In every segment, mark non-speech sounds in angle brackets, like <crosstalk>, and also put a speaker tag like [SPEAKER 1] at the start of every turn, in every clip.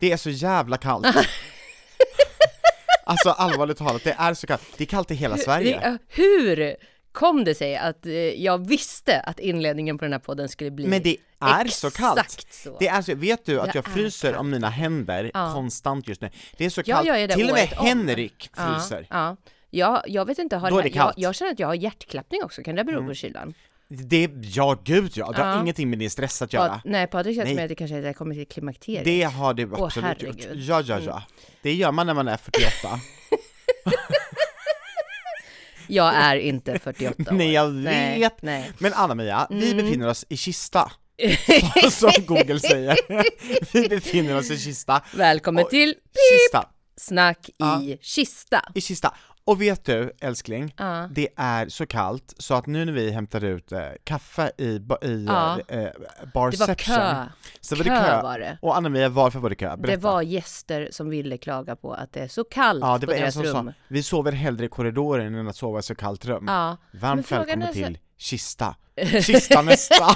[SPEAKER 1] Det är så jävla kallt!
[SPEAKER 2] <laughs>
[SPEAKER 1] alltså allvarligt talat, det är så kallt. Det är kallt i hela Sverige.
[SPEAKER 2] Det- Hur kom det sig att eh, jag visste att inledningen på den här podden skulle bli
[SPEAKER 1] Men det är så kallt!
[SPEAKER 2] exakt så?
[SPEAKER 1] Det är så, vet du att
[SPEAKER 2] Det
[SPEAKER 1] jag
[SPEAKER 2] är
[SPEAKER 1] fryser om mina händer konstant just nu? Det är så
[SPEAKER 2] Jag
[SPEAKER 1] kallt,
[SPEAKER 2] gör ju det
[SPEAKER 1] till och med
[SPEAKER 2] året om.
[SPEAKER 1] Henrik
[SPEAKER 2] Ja,
[SPEAKER 1] fryser.
[SPEAKER 2] Ja, ja. jag vet inte, har
[SPEAKER 1] Då är det kallt. Mm.
[SPEAKER 2] Jag, jag känner att jag har hjärtklappning också, kan det bero på kylan?
[SPEAKER 1] Det, ja gud ja, det har
[SPEAKER 2] Ja.
[SPEAKER 1] ingenting med din stress att
[SPEAKER 2] Pa-
[SPEAKER 1] göra.
[SPEAKER 2] nej, Patrik känns
[SPEAKER 1] Nej.
[SPEAKER 2] som att det kanske är- det kommer till klimakteriet.
[SPEAKER 1] Det har du
[SPEAKER 2] Åh,
[SPEAKER 1] absolut gjort.
[SPEAKER 2] herregud. Mm.
[SPEAKER 1] Ja, ja, ja. Det gör man när man är 48.
[SPEAKER 2] Jag är
[SPEAKER 1] <laughs>
[SPEAKER 2] inte 48 år.
[SPEAKER 1] Nej, jag
[SPEAKER 2] Nej,
[SPEAKER 1] vet.
[SPEAKER 2] nej.
[SPEAKER 1] Men Anna-Mia, vi
[SPEAKER 2] Mm.
[SPEAKER 1] befinner oss i
[SPEAKER 2] <laughs>
[SPEAKER 1] Kista. Som Google säger. <laughs> vi befinner oss i Kista.
[SPEAKER 2] Välkommen
[SPEAKER 1] Och-
[SPEAKER 2] till
[SPEAKER 1] Kista.
[SPEAKER 2] Snack i kista.
[SPEAKER 1] I Kista. Och vet du, älskling,
[SPEAKER 2] Ja.
[SPEAKER 1] det är så kallt så att nu när vi hämtade ut eh, kaffe i, ba- i
[SPEAKER 2] Ja.
[SPEAKER 1] eh, eh,
[SPEAKER 2] Det var
[SPEAKER 1] barception,
[SPEAKER 2] kö.
[SPEAKER 1] så var det
[SPEAKER 2] Kö
[SPEAKER 1] kö.
[SPEAKER 2] var det.
[SPEAKER 1] Och Anna-Mia, varför var det kö? Berätta.
[SPEAKER 2] Det var gäster som ville klaga på att det är så kallt
[SPEAKER 1] ja, det
[SPEAKER 2] på
[SPEAKER 1] var en
[SPEAKER 2] deras
[SPEAKER 1] som
[SPEAKER 2] rum.
[SPEAKER 1] sa, vi sover hellre i korridoren än att sova i så kallt rum.
[SPEAKER 2] Ja. Men
[SPEAKER 1] Varmt
[SPEAKER 2] frågan
[SPEAKER 1] välkommen
[SPEAKER 2] är så-
[SPEAKER 1] till
[SPEAKER 2] <laughs>
[SPEAKER 1] Kista. Kista nästa!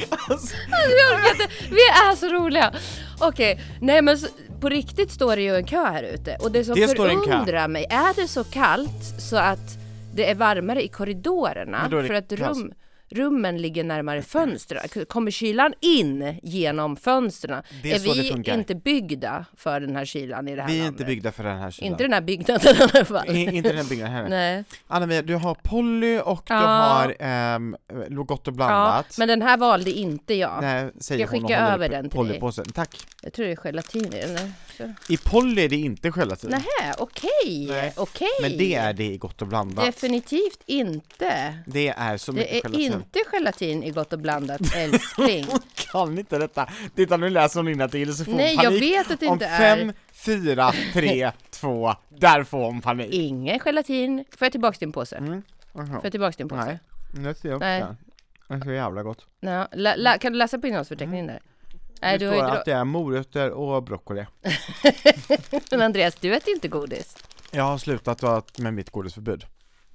[SPEAKER 2] Jag orkar inte, vi är så roliga! Okej, nej men så, på riktigt står det ju en kö här ute och det som
[SPEAKER 1] Det står en kö.
[SPEAKER 2] förundrar mig, är det så kallt så att det är varmare i korridorerna
[SPEAKER 1] Men då är det
[SPEAKER 2] för att
[SPEAKER 1] kaos.
[SPEAKER 2] rum, rummen ligger närmare fönstren? K- Kommer kylan in genom fönstren?
[SPEAKER 1] Det är
[SPEAKER 2] är
[SPEAKER 1] så det
[SPEAKER 2] vi
[SPEAKER 1] funkar.
[SPEAKER 2] inte byggda för den här kylan i det här
[SPEAKER 1] Vi är
[SPEAKER 2] landet?
[SPEAKER 1] inte byggda för den här kylan.
[SPEAKER 2] Inte den här byggnaden i alla fall.
[SPEAKER 1] I- inte den här byggnaden heller.
[SPEAKER 2] Nej.
[SPEAKER 1] Anna-Mia, du har Polly och
[SPEAKER 2] Ja.
[SPEAKER 1] du har ehm, Gott och
[SPEAKER 2] Ja,
[SPEAKER 1] blandat.
[SPEAKER 2] men den här valde inte jag.
[SPEAKER 1] Nej, säger
[SPEAKER 2] Jag
[SPEAKER 1] hon och
[SPEAKER 2] skickar
[SPEAKER 1] håller
[SPEAKER 2] över
[SPEAKER 1] upp
[SPEAKER 2] den till dig.
[SPEAKER 1] Pollypåsen. Tack.
[SPEAKER 2] Jag tror det är gelatin i den. där. Så.
[SPEAKER 1] I Polly är det inte gelatin.
[SPEAKER 2] Nähä, okej,
[SPEAKER 1] Nej,
[SPEAKER 2] okej.
[SPEAKER 1] Men det är det i Gott och blandat.
[SPEAKER 2] Definitivt inte.
[SPEAKER 1] det är så mycket
[SPEAKER 2] Det är
[SPEAKER 1] gelatin.
[SPEAKER 2] inte gelatin i Gott
[SPEAKER 1] <laughs>
[SPEAKER 2] och blandat, älskling.
[SPEAKER 1] Hon kan inte detta. Titta nu läser hon innantill så får hon
[SPEAKER 2] Nej, jag
[SPEAKER 1] panik.
[SPEAKER 2] vet att det
[SPEAKER 1] Om
[SPEAKER 2] inte är.
[SPEAKER 1] fem, fyra,
[SPEAKER 2] <laughs>
[SPEAKER 1] tre, två, där får hon panik.
[SPEAKER 2] Ingen gelatin. Får jag tillbaka din påse? Får jag tillbaka din påse?
[SPEAKER 1] Nej, nu ser jag upp
[SPEAKER 2] Nej.
[SPEAKER 1] den. Det är så jävla gott.
[SPEAKER 2] Nå, la, la, kan du läsa på innehållsförteckningen där? Nej,
[SPEAKER 1] Mm. det
[SPEAKER 2] du har ju
[SPEAKER 1] står att
[SPEAKER 2] inte
[SPEAKER 1] det är morötter och broccoli.
[SPEAKER 2] Men Andreas, du äter inte godis.
[SPEAKER 1] Jag har slutat att- med mitt godisförbud.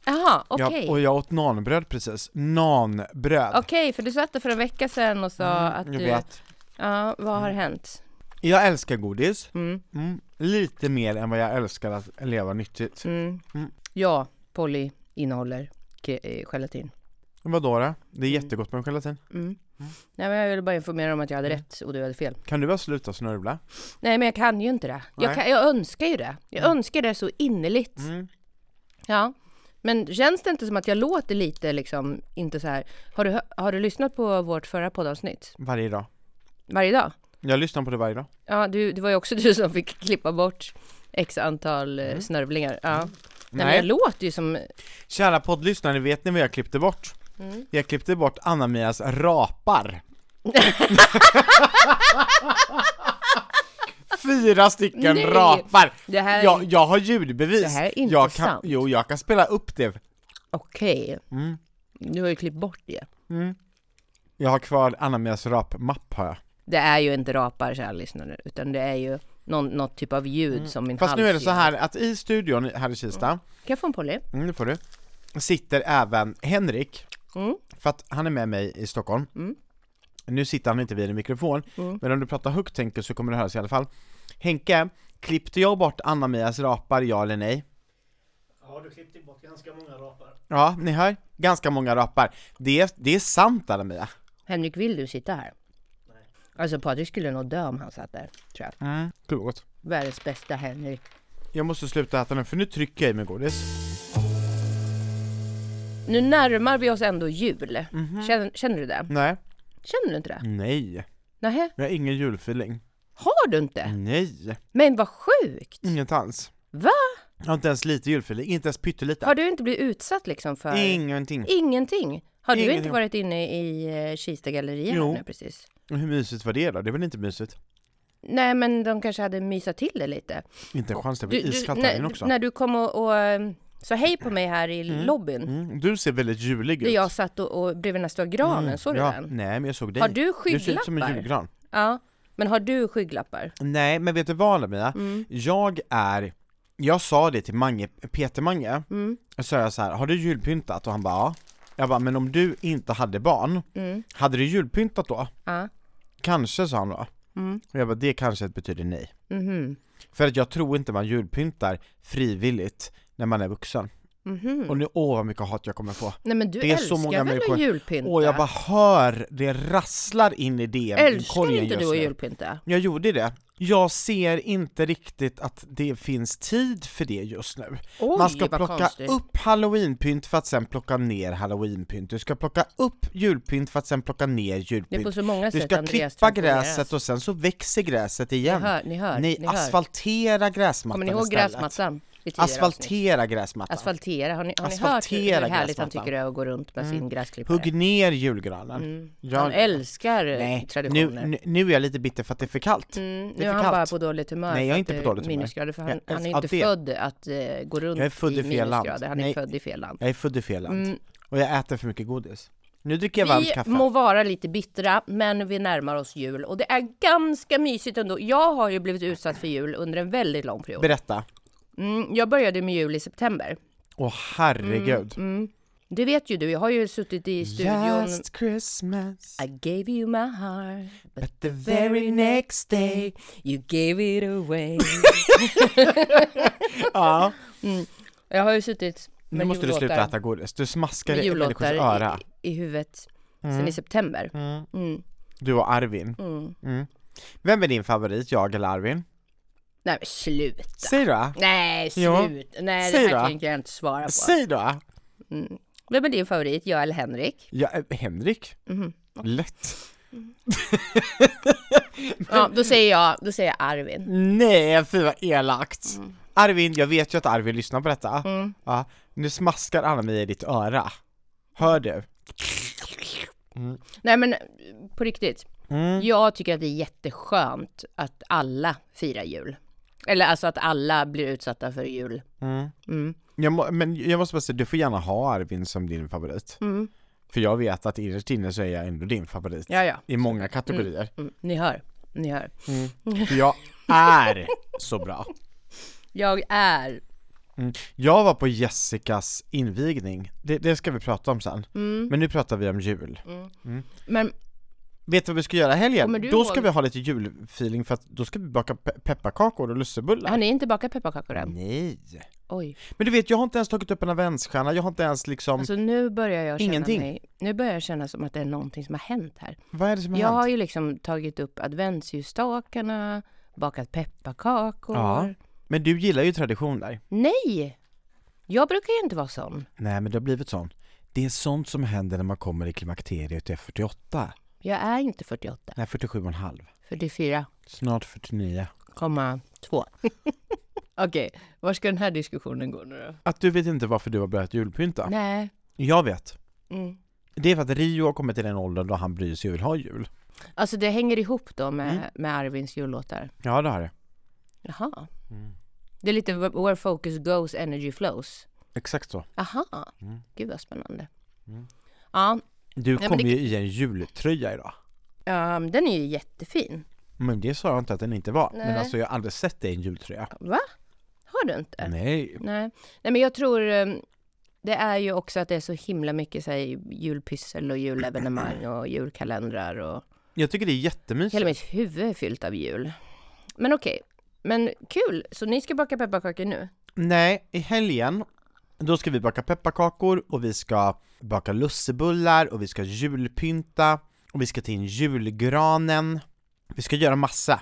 [SPEAKER 2] Jaha, okej.
[SPEAKER 1] Jag- och jag åt nanbröd precis. Nanbröd.
[SPEAKER 2] Okej, för du satt där för en vecka sedan och sa att
[SPEAKER 1] Mm, Jag
[SPEAKER 2] du...
[SPEAKER 1] vet. Mm.
[SPEAKER 2] Ja, vad har hänt?
[SPEAKER 1] Jag älskar godis. Mm. Lite mer än vad jag älskar att leva nyttigt.
[SPEAKER 2] Mm. Ja, Polly innehåller ke- eh, gelatin.
[SPEAKER 1] Vadå då? Det är
[SPEAKER 2] Mm.
[SPEAKER 1] jättegott med gelatin.
[SPEAKER 2] Nej, men jag ville bara informera om att jag hade
[SPEAKER 1] Mm.
[SPEAKER 2] rätt och du hade fel.
[SPEAKER 1] Kan du bara sluta snörvla?
[SPEAKER 2] Nej men jag kan ju inte det. Jag,
[SPEAKER 1] Nej. Mm.
[SPEAKER 2] kan, jag önskar ju det. Jag önskar det så innerligt. Ja. Men känns det inte som att jag låter lite liksom, inte så här. Har du, hö- har du lyssnat på vårt förra poddavsnitt?
[SPEAKER 1] Varje dag.
[SPEAKER 2] Varje dag?
[SPEAKER 1] Jag lyssnar på det varje dag.
[SPEAKER 2] Ja, du, det var ju också <laughs> du som fick klippa bort x antal eh, snörvlingar. Ja. Nej. men
[SPEAKER 1] Mm. Nej.
[SPEAKER 2] jag låter ju som...
[SPEAKER 1] Kära poddlyssnare, vet ni vad jag klippte bort?
[SPEAKER 2] Mm.
[SPEAKER 1] Jag klippte bort Anna-Mias
[SPEAKER 2] <laughs>
[SPEAKER 1] rapar. Fyra stycken
[SPEAKER 2] Nej.
[SPEAKER 1] rapar!
[SPEAKER 2] Det här är-
[SPEAKER 1] jag, jag har ljudbevis!
[SPEAKER 2] Det här är
[SPEAKER 1] jag kan,
[SPEAKER 2] intressant.
[SPEAKER 1] Jo, jag kan spela upp det.
[SPEAKER 2] Okej.
[SPEAKER 1] Mm.
[SPEAKER 2] Du har ju klippt bort det.
[SPEAKER 1] Jag har kvar Anna-Mias rapmapp har jag.
[SPEAKER 2] Det är ju inte rapar kära lyssnare, utan det är ju någon, något typ av ljud som min
[SPEAKER 1] Mm. Fast
[SPEAKER 2] hals
[SPEAKER 1] nu är det så
[SPEAKER 2] gör.
[SPEAKER 1] här att i studion här i Kista,
[SPEAKER 2] Kan jag få en Polly?
[SPEAKER 1] Mm, det får du. Sitter även Henrik,
[SPEAKER 2] Mm.
[SPEAKER 1] för att han är med mig i Stockholm. Nu sitter han inte vid en mikrofon,
[SPEAKER 2] Mm.
[SPEAKER 1] men om du pratar högt Henke så kommer det höras i alla fall. Henke, klippte jag bort Anna-Mias rapar, ja eller nej?
[SPEAKER 3] Ja, du klippte bort ganska många rapar.
[SPEAKER 1] Ja, ni hör. Ganska många rapar. Det är, det är sant Anna-Mia.
[SPEAKER 2] Henrik, vill du sitta här? Alltså Patrik skulle nog dö om han satt där, tror jag.
[SPEAKER 1] Mm. Gott.
[SPEAKER 2] Världens bästa Henrik.
[SPEAKER 1] Jag måste sluta äta nu, för nu trycker jag i mig godis.
[SPEAKER 2] Nu närmar vi oss ändå jul.
[SPEAKER 1] Mhm.
[SPEAKER 2] Känner, känner du det?
[SPEAKER 1] Nej.
[SPEAKER 2] Känner du inte det?
[SPEAKER 1] Nej.
[SPEAKER 2] Nähä?
[SPEAKER 1] Jag har ingen julfeeling.
[SPEAKER 2] Har du inte?
[SPEAKER 1] Nej.
[SPEAKER 2] Men vad sjukt!
[SPEAKER 1] Inget alls.
[SPEAKER 2] Va?
[SPEAKER 1] Jag har inte ens lite julfeeling, inte ens pyttelite.
[SPEAKER 2] Har du inte blivit utsatt liksom för
[SPEAKER 1] Ingenting.
[SPEAKER 2] ingenting? Har du inte
[SPEAKER 1] Ingenting.
[SPEAKER 2] varit inne i eh, Kista gallerian
[SPEAKER 1] Jo.
[SPEAKER 2] nu precis?
[SPEAKER 1] Hur mysigt var det då? Det var väl inte mysigt?
[SPEAKER 2] Nej men de kanske hade mysat till det lite.
[SPEAKER 1] Inte en chans, det blir iskallt här
[SPEAKER 2] när,
[SPEAKER 1] inne också.
[SPEAKER 2] när du kom och, och eh, Så hej på mig här i lobbyn.
[SPEAKER 1] Mm, du ser väldigt julig
[SPEAKER 2] Där
[SPEAKER 1] ut.
[SPEAKER 2] jag satt och, och bredvid den här stora granen, såg du
[SPEAKER 1] Mm. ja,
[SPEAKER 2] den?
[SPEAKER 1] Nej, men jag såg dig.
[SPEAKER 2] Har du
[SPEAKER 1] Du ser ut som en
[SPEAKER 2] skygglappar?
[SPEAKER 1] julgran.
[SPEAKER 2] Ja. Men har du skygglappar?
[SPEAKER 1] Nej, men vet du vad Lamia?
[SPEAKER 2] Mm.
[SPEAKER 1] Jag är, jag sa det till Mange, Peter Mange,
[SPEAKER 2] Mm.
[SPEAKER 1] och sa jag så här, har du julpyntat? Och han bara ja. Jag bara, men om du inte hade barn,
[SPEAKER 2] Mm.
[SPEAKER 1] hade du julpyntat då?
[SPEAKER 2] Ja.
[SPEAKER 1] Kanske sa han då.
[SPEAKER 2] Mm.
[SPEAKER 1] Och jag bara, det kanske betyder nej.
[SPEAKER 2] Mhm.
[SPEAKER 1] För att jag tror inte man julpyntar frivilligt när man är vuxen.
[SPEAKER 2] Mhm.
[SPEAKER 1] Och nu, åh vad mycket hat jag kommer få.
[SPEAKER 2] Nej men du
[SPEAKER 1] Det är så
[SPEAKER 2] älskar
[SPEAKER 1] många
[SPEAKER 2] väl
[SPEAKER 1] människor-
[SPEAKER 2] att julpynta?
[SPEAKER 1] Åh jag bara hör, det rasslar in i DM
[SPEAKER 2] Älskar
[SPEAKER 1] inkorgen
[SPEAKER 2] inte
[SPEAKER 1] just
[SPEAKER 2] du att
[SPEAKER 1] nu.
[SPEAKER 2] julpynta?
[SPEAKER 1] Jag gjorde det. Jag ser inte riktigt att det finns tid för det just nu.
[SPEAKER 2] Oj,
[SPEAKER 1] Man ska
[SPEAKER 2] vad
[SPEAKER 1] plocka
[SPEAKER 2] konstigt.
[SPEAKER 1] upp halloweenpynt för att sen plocka ner halloweenpynt. Du ska plocka upp julpynt för att sen plocka ner
[SPEAKER 2] Det är på
[SPEAKER 1] julpynt.
[SPEAKER 2] så många
[SPEAKER 1] Du
[SPEAKER 2] sätt
[SPEAKER 1] ska
[SPEAKER 2] Andreas
[SPEAKER 1] klippa
[SPEAKER 2] transformeras.
[SPEAKER 1] gräset och sen så växer gräset igen.
[SPEAKER 2] Ni hör, ni hör.
[SPEAKER 1] Nej,
[SPEAKER 2] ni hör.
[SPEAKER 1] asfaltera gräsmattan
[SPEAKER 2] Kommer ni ihåg
[SPEAKER 1] istället.
[SPEAKER 2] gräsmattan? i tidigare avsnitt?
[SPEAKER 1] Asfaltera gräsmattan.
[SPEAKER 2] Asfaltera. Har ni, har ni hört hur-
[SPEAKER 1] Asfaltera
[SPEAKER 2] hur härligt han
[SPEAKER 1] gräsmattan. Mm.
[SPEAKER 2] tycker det är att gå runt med sin gräsklippare?
[SPEAKER 1] Hugg ner julgranen. Jag-
[SPEAKER 2] Mm. Han älskar eh,
[SPEAKER 1] Nej, nu,
[SPEAKER 2] traditioner.
[SPEAKER 1] nu, nu är jag lite bitter för att det är för kallt.
[SPEAKER 2] Mm,
[SPEAKER 1] det
[SPEAKER 2] nu
[SPEAKER 1] är för
[SPEAKER 2] är han bara
[SPEAKER 1] kallt.
[SPEAKER 2] på dåligt humör.
[SPEAKER 1] Nej, jag är
[SPEAKER 2] för
[SPEAKER 1] inte på
[SPEAKER 2] att det
[SPEAKER 1] dåligt humör.
[SPEAKER 2] Minusgrader, för han,
[SPEAKER 1] Jag
[SPEAKER 2] han är
[SPEAKER 1] älskar
[SPEAKER 2] inte
[SPEAKER 1] det.
[SPEAKER 2] född att eh, gå runt
[SPEAKER 1] Jag är född i fel land.
[SPEAKER 2] minusgrader. Han är
[SPEAKER 1] Nej.
[SPEAKER 2] född i fel land.
[SPEAKER 1] Jag är född i fel land.
[SPEAKER 2] Mm.
[SPEAKER 1] Och jag äter för mycket godis. Nu dricker jag varmt
[SPEAKER 2] Vi
[SPEAKER 1] kaffe.
[SPEAKER 2] må vara lite bittra, men vi närmar oss jul och det är ganska mysigt ändå. Jag har ju blivit utsatt för jul under en väldigt lång period.
[SPEAKER 1] Berätta.
[SPEAKER 2] Mm, jag började med jul i september.
[SPEAKER 1] Åh herregud.
[SPEAKER 2] Det vet ju du, jag har ju suttit i Mm, studion.
[SPEAKER 1] Last Christmas,
[SPEAKER 2] I gave you my heart, but
[SPEAKER 1] but the very next day
[SPEAKER 2] you gave it away.
[SPEAKER 1] Ja,
[SPEAKER 2] <laughs> jag har ju suttit <laughs> med
[SPEAKER 1] nu måste du
[SPEAKER 2] jullåtar-
[SPEAKER 1] sluta äta godis. Du smaskar
[SPEAKER 2] med
[SPEAKER 1] i människors
[SPEAKER 2] jullåtar
[SPEAKER 1] öra. Mm.
[SPEAKER 2] i, i huvudet sen i september.
[SPEAKER 1] Du och Arvin. Mm. Vem är din favorit, jag eller Arvin?
[SPEAKER 2] Nej men sluta!
[SPEAKER 1] Säg då!
[SPEAKER 2] Nej
[SPEAKER 1] Ja.
[SPEAKER 2] slut! Nej
[SPEAKER 1] Säg
[SPEAKER 2] det här
[SPEAKER 1] då.
[SPEAKER 2] tänker jag inte svara på.
[SPEAKER 1] Säg då!
[SPEAKER 2] Vem är din favorit, jag eller Henrik?
[SPEAKER 1] Ja, eh, Henrik?
[SPEAKER 2] Mhm.
[SPEAKER 1] Lätt.
[SPEAKER 2] Ja, då säger jag, då säger jag Arvin.
[SPEAKER 1] Nej, fy vad elakt!
[SPEAKER 2] Mm.
[SPEAKER 1] Arvin, jag vet ju att Arvin lyssnar på detta. Ja, nu smaskar Anna-Mia i ditt öra. Hör du?
[SPEAKER 2] Nej men på riktigt.
[SPEAKER 1] Mm.
[SPEAKER 2] Jag tycker att det är jätteskönt att alla firar jul. Eller alltså att alla blir utsatta för jul.
[SPEAKER 1] Jag må, men jag måste bara säga, du får gärna ha Arvin som din favorit. För jag vet att innerst inne så är jag ändå din favorit.
[SPEAKER 2] Mm. Ja, ja.
[SPEAKER 1] I många kategorier.
[SPEAKER 2] Mm, ni hör, ni hör.
[SPEAKER 1] För jag är så bra.
[SPEAKER 2] Jag är,
[SPEAKER 1] Jag var på Jessicas invigning, det, det ska vi prata om sen.
[SPEAKER 2] Mm.
[SPEAKER 1] Men nu pratar vi om jul.
[SPEAKER 2] men
[SPEAKER 1] Vet du vad vi ska göra i helgen?
[SPEAKER 2] Kommer du
[SPEAKER 1] Då ska
[SPEAKER 2] ihåg-
[SPEAKER 1] vi ha lite julfeeling för att då ska vi baka pe- pepparkakor och lussebullar.
[SPEAKER 2] har ni inte bakat pepparkakor än?
[SPEAKER 1] Nej!
[SPEAKER 2] Oj.
[SPEAKER 1] Men du vet, jag har inte ens tagit upp en adventsstjärna, jag har inte ens liksom,
[SPEAKER 2] Alltså nu börjar jag känna
[SPEAKER 1] Ingenting.
[SPEAKER 2] mig, nu börjar jag känna som att det är någonting som har hänt här.
[SPEAKER 1] vad är det som har
[SPEAKER 2] Jag har
[SPEAKER 1] hänt?
[SPEAKER 2] ju liksom tagit upp adventsljusstakarna, bakat pepparkakor.
[SPEAKER 1] Ja. Men du gillar ju traditioner.
[SPEAKER 2] Nej! Jag brukar ju inte vara sån.
[SPEAKER 1] Nej men det har blivit sånt. Det är sånt som händer när man kommer i klimakteriet efter 48.
[SPEAKER 2] Jag är inte 48,
[SPEAKER 1] Nej 47,5.
[SPEAKER 2] 44,2.
[SPEAKER 1] Snart 49.
[SPEAKER 2] <laughs> Okej, var ska den här diskussionen gå nu då?
[SPEAKER 1] Att du vet inte varför du har börjat julpynta?
[SPEAKER 2] Nej.
[SPEAKER 1] Jag vet.
[SPEAKER 2] Mm.
[SPEAKER 1] Det är för att Rio har kommit till den åldern då han bryr sig och vill ha jul.
[SPEAKER 2] Alltså det hänger ihop då med, med Arvins jullåtar.
[SPEAKER 1] Ja det har det.
[SPEAKER 2] Mm. Jaha. Mm. Det är lite wh- where focus goes, energy flows.
[SPEAKER 1] Exakt så.
[SPEAKER 2] Aha. Gud vad spännande. Mm. Ja,
[SPEAKER 1] Du
[SPEAKER 2] men
[SPEAKER 1] kom
[SPEAKER 2] det-
[SPEAKER 1] ju i en jultröja idag.
[SPEAKER 2] ja, ehm, den är ju jättefin.
[SPEAKER 1] Men det sa jag inte att den inte var. Men
[SPEAKER 2] Nej.
[SPEAKER 1] alltså jag har aldrig sett dig i en jultröja.
[SPEAKER 2] Va? Har du inte?
[SPEAKER 1] Nej.
[SPEAKER 2] Nej. Nej, men jag tror eh, det är ju också att det är så himla mycket så här, julpyssel och julevenemang och julkalendrar och
[SPEAKER 1] Jag tycker det är jättemysigt.
[SPEAKER 2] hela mitt huvud är fyllt av jul. Men okej, men kul! Så ni ska baka pepparkakor nu?
[SPEAKER 1] Nej, i helgen då ska vi baka pepparkakor och vi ska baka lussebullar och vi ska julpynta och vi ska ta in julgranen. Vi ska göra massa.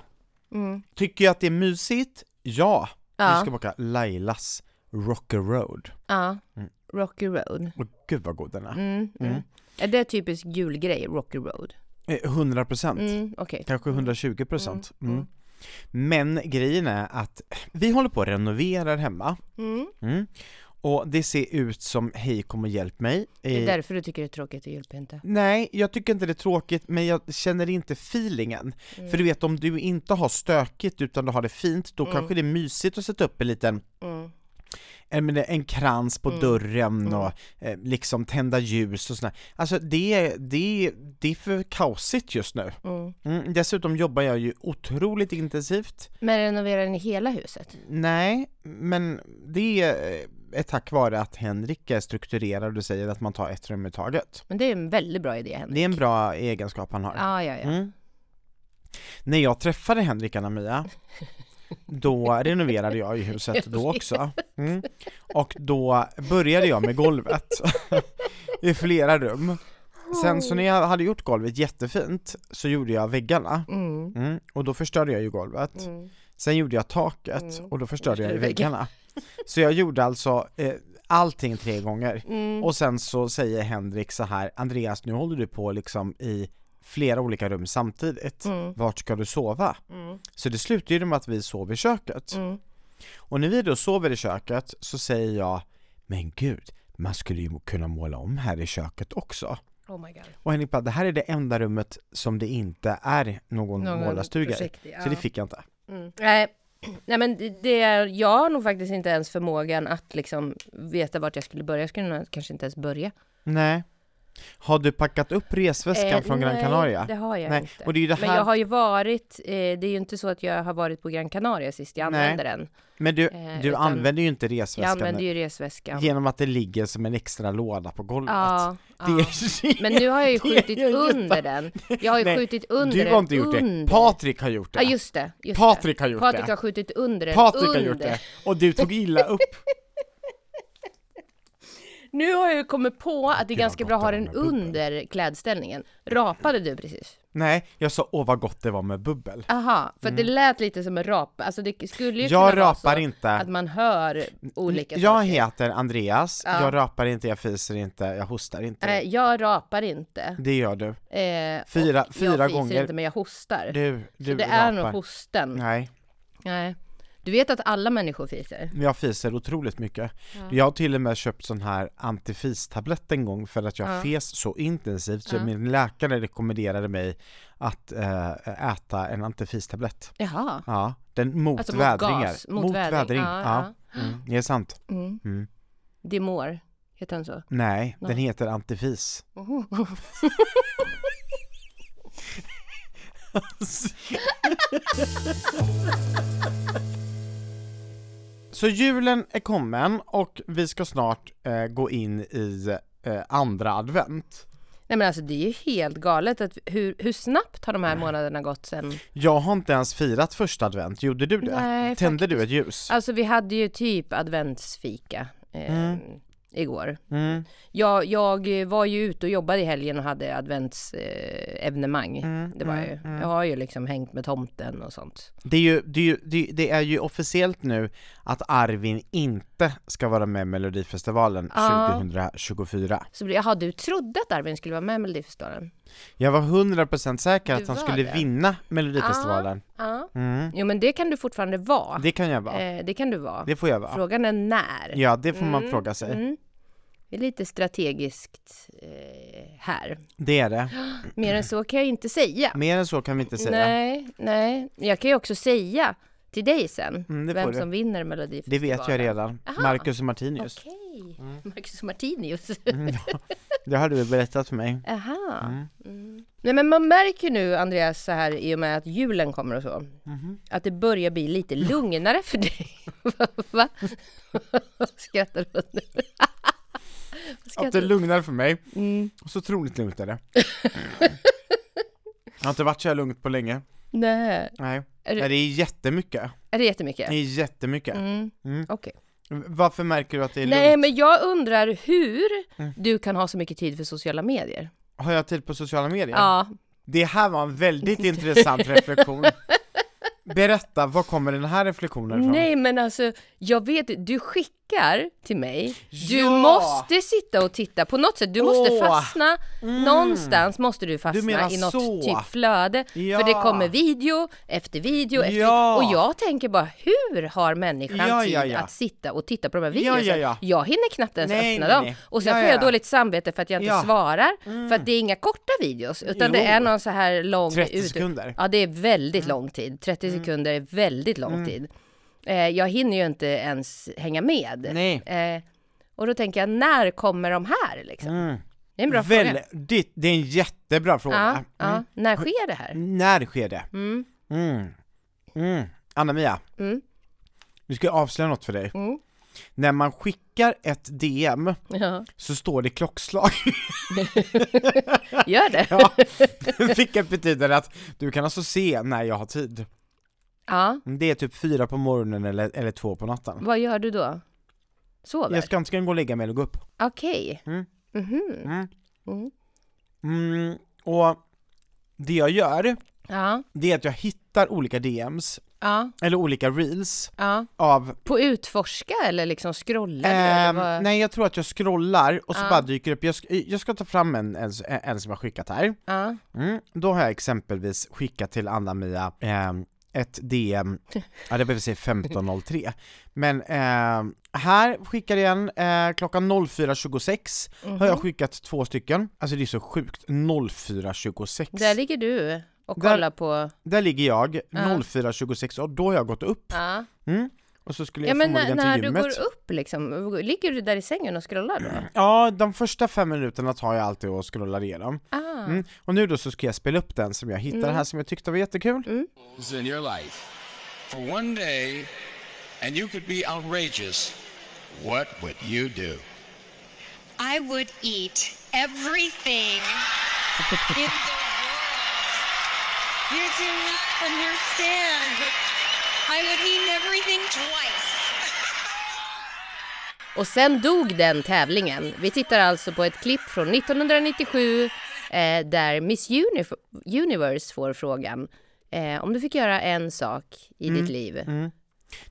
[SPEAKER 2] Mm.
[SPEAKER 1] Tycker jag att det är mysigt? Ja!
[SPEAKER 2] Ja.
[SPEAKER 1] Vi ska baka Lailas Rocker Road.
[SPEAKER 2] Ja.
[SPEAKER 1] Mm.
[SPEAKER 2] Rocky Road.
[SPEAKER 1] Och gud vad god den är.
[SPEAKER 2] Mm, mm. Är det typisk julgrej, Rocky Road?
[SPEAKER 1] Eh, 100 procent.
[SPEAKER 2] Mm, okej.
[SPEAKER 1] Kanske 120 procent. Mm. Men grejen är att vi håller på att renovera här hemma.
[SPEAKER 2] Mm.
[SPEAKER 1] Mm. Och det ser ut som hej kom och hjälp mig.
[SPEAKER 2] Det är
[SPEAKER 1] Eh,
[SPEAKER 2] därför du tycker det är tråkigt att julpynta?
[SPEAKER 1] Nej, jag tycker inte det är tråkigt, men jag känner inte feelingen.
[SPEAKER 2] Mm.
[SPEAKER 1] För du vet, om du inte har stökigt utan du har det fint, då kanske det är mysigt att sätta upp en liten,
[SPEAKER 2] Mm.
[SPEAKER 1] eh, men det- en krans på dörren och eh, liksom tända ljus och sådär. Alltså det, det, det är för kaosigt just nu.
[SPEAKER 2] Mm.
[SPEAKER 1] Mm, dessutom jobbar jag ju otroligt intensivt.
[SPEAKER 2] Men renoverar ni hela huset?
[SPEAKER 1] Nej, men det är eh, tack vare att Henrik är strukturerad och säger att man tar ett rum i taget.
[SPEAKER 2] Men det är en väldigt bra idé Henrik.
[SPEAKER 1] Det är en bra egenskap han har.
[SPEAKER 2] Ja, ja, ja.
[SPEAKER 1] Mm. När jag träffade Henrik Anna-Mia, då renoverade jag ju
[SPEAKER 2] <laughs>
[SPEAKER 1] huset då också. Mm. Och då började jag med golvet <laughs> i flera rum. Sen så när jag hade gjort golvet jättefint så gjorde jag väggarna.
[SPEAKER 2] Mm.
[SPEAKER 1] Mm. Och då förstörde jag ju golvet.
[SPEAKER 2] Mm.
[SPEAKER 1] Sen gjorde jag taket
[SPEAKER 2] Mm.
[SPEAKER 1] och då förstörde jag ju
[SPEAKER 2] Förstörde
[SPEAKER 1] väggarna. Så jag gjorde alltså eh, allting tre gånger.
[SPEAKER 2] Mm.
[SPEAKER 1] Och sen så säger Henrik så här, Andreas nu håller du på liksom i flera olika rum samtidigt.
[SPEAKER 2] Mm.
[SPEAKER 1] Vart ska du sova?
[SPEAKER 2] Mm.
[SPEAKER 1] Så det slutar ju med att vi sover i köket.
[SPEAKER 2] Mm.
[SPEAKER 1] Och när vi då sover i köket så säger jag, men gud, man skulle ju kunna måla om här i köket också.
[SPEAKER 2] Oh my god.
[SPEAKER 1] Och Henrik bara, det här är det enda rummet som det inte är någon,
[SPEAKER 2] Någon
[SPEAKER 1] målarstuga i.
[SPEAKER 2] försiktig,
[SPEAKER 1] Så det
[SPEAKER 2] ja.
[SPEAKER 1] fick jag inte.
[SPEAKER 2] Mm. Nej. <clears throat> Nej men det- det är, jag har nog faktiskt inte ens förmågan att liksom veta vart jag skulle börja. Jag skulle nog kanske inte ens börja.
[SPEAKER 1] Nej. Har du packat upp resväskan
[SPEAKER 2] Eh,
[SPEAKER 1] från Gran
[SPEAKER 2] nej,
[SPEAKER 1] Canaria?
[SPEAKER 2] det har jag
[SPEAKER 1] Nej,
[SPEAKER 2] inte.
[SPEAKER 1] och det är ju det
[SPEAKER 2] Men
[SPEAKER 1] här-
[SPEAKER 2] jag har ju varit, eh, det är ju inte så att jag har varit på Gran Canaria sist jag
[SPEAKER 1] Nej.
[SPEAKER 2] använde den.
[SPEAKER 1] Men du,
[SPEAKER 2] Eh,
[SPEAKER 1] du
[SPEAKER 2] utan-
[SPEAKER 1] använder ju inte
[SPEAKER 2] Jag
[SPEAKER 1] resväskan
[SPEAKER 2] använde ju resväskan.
[SPEAKER 1] Genom att det ligger som en extra låda på golvet.
[SPEAKER 2] Ja,
[SPEAKER 1] Det
[SPEAKER 2] ja.
[SPEAKER 1] är,
[SPEAKER 2] Men nu har jag ju
[SPEAKER 1] det är
[SPEAKER 2] skjutit
[SPEAKER 1] ju
[SPEAKER 2] under den. Jag har ju
[SPEAKER 1] Nej,
[SPEAKER 2] skjutit under den.
[SPEAKER 1] <laughs> du har inte gjort
[SPEAKER 2] under.
[SPEAKER 1] det. Patrik har gjort det.
[SPEAKER 2] Ja just det. Just
[SPEAKER 1] Patrik
[SPEAKER 2] det.
[SPEAKER 1] har gjort
[SPEAKER 2] Patrik
[SPEAKER 1] det.
[SPEAKER 2] har skjutit under den.
[SPEAKER 1] Patrik
[SPEAKER 2] under.
[SPEAKER 1] har gjort det. Och du tog illa upp. <laughs>
[SPEAKER 2] Nu har jag ju kommit på att det är
[SPEAKER 1] Gud, vad
[SPEAKER 2] ganska
[SPEAKER 1] gott
[SPEAKER 2] bra
[SPEAKER 1] det
[SPEAKER 2] att ha
[SPEAKER 1] var
[SPEAKER 2] den
[SPEAKER 1] med bubbel.
[SPEAKER 2] under klädställningen. Rapade du precis?
[SPEAKER 1] Nej, jag sa åh vad gott det var med bubbel.
[SPEAKER 2] Aha, för att det lät lite som en rap. Alltså det skulle ju
[SPEAKER 1] Mm. Jag
[SPEAKER 2] kunna vara
[SPEAKER 1] rapar
[SPEAKER 2] så
[SPEAKER 1] inte.
[SPEAKER 2] att man hör olika
[SPEAKER 1] jag
[SPEAKER 2] saker.
[SPEAKER 1] heter Andreas,
[SPEAKER 2] Ja.
[SPEAKER 1] jag rapar inte, jag fiser inte, jag hostar inte.
[SPEAKER 2] Nej, jag rapar inte.
[SPEAKER 1] Det gör du.
[SPEAKER 2] Eh,
[SPEAKER 1] Fyra-
[SPEAKER 2] och
[SPEAKER 1] fyra
[SPEAKER 2] jag fiser
[SPEAKER 1] gånger.
[SPEAKER 2] inte men jag hostar.
[SPEAKER 1] Du,
[SPEAKER 2] Så
[SPEAKER 1] du
[SPEAKER 2] det
[SPEAKER 1] rapar.
[SPEAKER 2] är nog hosten. Nej.
[SPEAKER 1] Nej,
[SPEAKER 2] Du vet att alla människor fiser?
[SPEAKER 1] men jag fiser otroligt mycket. Jag har till och med köpt sån här antifis-tablett en gång för att jag
[SPEAKER 2] Ja.
[SPEAKER 1] fes så intensivt så
[SPEAKER 2] Ja.
[SPEAKER 1] min läkare rekommenderade mig att eh, äta en antifis-tablett.
[SPEAKER 2] Jaha.
[SPEAKER 1] Ja, den mot
[SPEAKER 2] Alltså mot
[SPEAKER 1] vädringar.
[SPEAKER 2] gas, mot vädring. Ja,
[SPEAKER 1] ja. Mm, det är sant.
[SPEAKER 2] Mm.
[SPEAKER 1] Mm.
[SPEAKER 2] Demor, heter den så?
[SPEAKER 1] Nej, den
[SPEAKER 2] Nej.
[SPEAKER 1] heter antifis. <laughs> Så julen är kommen och vi ska snart eh, gå in i eh, andra advent.
[SPEAKER 2] Nej men alltså det är ju helt galet att hur, hur snabbt har de här månaderna gått sen?
[SPEAKER 1] Jag har inte ens firat första advent, gjorde du det?
[SPEAKER 2] Nej,
[SPEAKER 1] Tände du ett ljus?
[SPEAKER 2] Alltså vi hade ju typ adventsfika eh, igår.
[SPEAKER 1] Mm.
[SPEAKER 2] Jag, jag var ju ute och jobbade i helgen och hade adventsevenemang. Eh, evenemang.
[SPEAKER 1] Mm,
[SPEAKER 2] det var jag ju. Jag har ju liksom hängt med tomten och sånt.
[SPEAKER 1] Det är, ju, det, är ju, det, det är ju officiellt nu att Arvin inte ska vara med i Melodifestivalen
[SPEAKER 2] Ja.
[SPEAKER 1] 2024.
[SPEAKER 2] Så blev- jaha, du trodde att Arvin skulle vara med i Melodifestivalen?
[SPEAKER 1] Jag var 100% säker
[SPEAKER 2] Du
[SPEAKER 1] att han
[SPEAKER 2] var
[SPEAKER 1] skulle
[SPEAKER 2] det?
[SPEAKER 1] vinna Melodifestivalen.
[SPEAKER 2] Ja.
[SPEAKER 1] Mm.
[SPEAKER 2] Jo men det kan du fortfarande vara.
[SPEAKER 1] Det kan jag vara.
[SPEAKER 2] Eh, det kan du vara.
[SPEAKER 1] Det får jag vara.
[SPEAKER 2] Frågan är när.
[SPEAKER 1] Ja, det får man fråga sig.
[SPEAKER 2] Mm. Det är lite strategiskt eh, här.
[SPEAKER 1] Det är det.
[SPEAKER 2] Mer än så kan jag inte säga.
[SPEAKER 1] Mer än så kan vi inte säga.
[SPEAKER 2] Nej, nej. Jag kan ju också säga till dig sen
[SPEAKER 1] Mm, det får
[SPEAKER 2] vem
[SPEAKER 1] du.
[SPEAKER 2] som vinner
[SPEAKER 1] Det
[SPEAKER 2] Melodifestivalen.
[SPEAKER 1] vet jag redan. Mm.
[SPEAKER 2] Aha.
[SPEAKER 1] Marcus och Martinus.
[SPEAKER 2] Okej,
[SPEAKER 1] <laughs>
[SPEAKER 2] Marcus Martinius.
[SPEAKER 1] Det har du berättat för mig.
[SPEAKER 2] Aha. Mm. Nej men man märker nu Andreas så här i och med att julen kommer och så.
[SPEAKER 1] Mhm.
[SPEAKER 2] Att det börjar bli lite lugnare
[SPEAKER 1] <laughs>
[SPEAKER 2] för dig. Va? Va? Skrattar du åt nu?
[SPEAKER 1] <laughs> Att
[SPEAKER 2] Skrattar
[SPEAKER 1] det
[SPEAKER 2] du? Mm.
[SPEAKER 1] lugnar för mig. Så otroligt lugnt
[SPEAKER 2] <laughs>
[SPEAKER 1] är det. Jag har inte varit så här lugnt på länge.
[SPEAKER 2] Nej.
[SPEAKER 1] Nej.
[SPEAKER 2] Är det-
[SPEAKER 1] Nej, det är jättemycket.
[SPEAKER 2] Är det
[SPEAKER 1] Det
[SPEAKER 2] jättemycket?
[SPEAKER 1] är jättemycket.
[SPEAKER 2] Mm.
[SPEAKER 1] Mm.
[SPEAKER 2] Okej.
[SPEAKER 1] Varför märker du att det är
[SPEAKER 2] Nej
[SPEAKER 1] lugnt? Mm.
[SPEAKER 2] men jag undrar hur du kan ha så mycket tid för sociala medier.
[SPEAKER 1] Har jag tid på sociala medier?
[SPEAKER 2] Ja,
[SPEAKER 1] Det här var en väldigt intressant reflektion. Berätta, var kommer den här reflektionen ifrån?
[SPEAKER 2] Nej men alltså, jag vet du skickar till mig, du
[SPEAKER 1] Ja!
[SPEAKER 2] måste sitta och titta på något sätt, du måste
[SPEAKER 1] Åh!
[SPEAKER 2] fastna,
[SPEAKER 1] Mm.
[SPEAKER 2] någonstans måste du fastna
[SPEAKER 1] Du menar
[SPEAKER 2] i något
[SPEAKER 1] så.
[SPEAKER 2] typ flöde,
[SPEAKER 1] Ja.
[SPEAKER 2] för det kommer video efter video efter
[SPEAKER 1] Ja.
[SPEAKER 2] och jag tänker bara hur har människan
[SPEAKER 1] Ja,
[SPEAKER 2] tid
[SPEAKER 1] ja, ja.
[SPEAKER 2] att sitta och titta på de här videorna?
[SPEAKER 1] ja, ja.
[SPEAKER 2] Jag hinner knappt ens
[SPEAKER 1] Nej,
[SPEAKER 2] öppna
[SPEAKER 1] nej,
[SPEAKER 2] dem
[SPEAKER 1] nej.
[SPEAKER 2] och sen
[SPEAKER 1] Ja,
[SPEAKER 2] får
[SPEAKER 1] ja,
[SPEAKER 2] jag
[SPEAKER 1] ja.
[SPEAKER 2] dåligt samvete för att jag inte
[SPEAKER 1] Ja. Mm.
[SPEAKER 2] svarar, för att det är inga korta videos utan det
[SPEAKER 1] Jo.
[SPEAKER 2] är någon så här lång
[SPEAKER 1] 30
[SPEAKER 2] ut-
[SPEAKER 1] sekunder. Mm.
[SPEAKER 2] Ja, det är väldigt lång tid. 30 sekunder är väldigt lång tid. Eh, jag hinner ju inte ens hänga med.
[SPEAKER 1] Nej.
[SPEAKER 2] Eh, och då tänker jag, när kommer de här liksom?
[SPEAKER 1] Mm.
[SPEAKER 2] Det är en bra fråga.
[SPEAKER 1] Väldigt, det är en jättebra fråga.
[SPEAKER 2] Ja,
[SPEAKER 1] Mm.
[SPEAKER 2] ja. När sker det här?
[SPEAKER 1] När sker det?
[SPEAKER 2] Mm.
[SPEAKER 1] Mm. Mm. Anna-Mia,
[SPEAKER 2] Mm.
[SPEAKER 1] nu ska jag avslöja något för dig.
[SPEAKER 2] Mm.
[SPEAKER 1] När man skickar ett DM
[SPEAKER 2] Ja.
[SPEAKER 1] så står det
[SPEAKER 2] <laughs>
[SPEAKER 1] klockslag.
[SPEAKER 2] Gör det?
[SPEAKER 1] Ja. Vilket betyder att du kan alltså se när jag har tid.
[SPEAKER 2] Ja.
[SPEAKER 1] Det är typ fyra på morgonen eller, eller två på natten.
[SPEAKER 2] Vad gör du då? Sover?
[SPEAKER 1] Jag ska antingen gå och lägga mig eller gå upp.
[SPEAKER 2] Okej.
[SPEAKER 1] Mm.
[SPEAKER 2] Mhm.
[SPEAKER 1] Mm.
[SPEAKER 2] Mm.
[SPEAKER 1] Mm. Och det jag gör,
[SPEAKER 2] Ja.
[SPEAKER 1] det är att jag hittar olika DMs,
[SPEAKER 2] Ja.
[SPEAKER 1] eller olika reels,
[SPEAKER 2] Ja.
[SPEAKER 1] av
[SPEAKER 2] På utforska eller liksom scrolla? eller
[SPEAKER 1] Ehm,
[SPEAKER 2] vad?
[SPEAKER 1] nej jag tror att jag scrollar och så
[SPEAKER 2] Ja.
[SPEAKER 1] bara dyker upp, jag ska, jag ska ta fram en, en, en som jag skickat här.
[SPEAKER 2] Ja.
[SPEAKER 1] Mm. Då har jag exempelvis skickat till Anna-Mia ehm, ett DM, ja det behöver säga 15.03, men ehm, här skickar jag en, eh, klockan 04.26 har jag skickat två stycken, alltså det är så sjukt, 04.26.
[SPEAKER 2] Där ligger du och kollar på...
[SPEAKER 1] Där ligger jag, 04.26 och då har jag gått upp,
[SPEAKER 2] Ja,
[SPEAKER 1] mm. och så skulle jag
[SPEAKER 2] ja men när,
[SPEAKER 1] förmodligen
[SPEAKER 2] när
[SPEAKER 1] till
[SPEAKER 2] du
[SPEAKER 1] gymmet.
[SPEAKER 2] går upp liksom, ligger du där i sängen och scrollar då?
[SPEAKER 1] Ja, de första fem minuterna tar jag alltid och scrollar igenom.
[SPEAKER 2] Ah.
[SPEAKER 1] Mm. Och nu då så ska jag spela upp den som jag hittade
[SPEAKER 2] Mm.
[SPEAKER 1] här som jag tyckte var jättekul.
[SPEAKER 4] goals in your life for one day and you could be outrageous, what would you do?
[SPEAKER 5] I would eat everything in the world. You do not understand. I would eat everything twice.
[SPEAKER 2] Och sen dog den tävlingen. Vi tittar alltså på ett klipp från 1997 eh, där Miss Unif- Universe får frågan eh, om du fick göra en sak i
[SPEAKER 1] Mm.
[SPEAKER 2] ditt liv.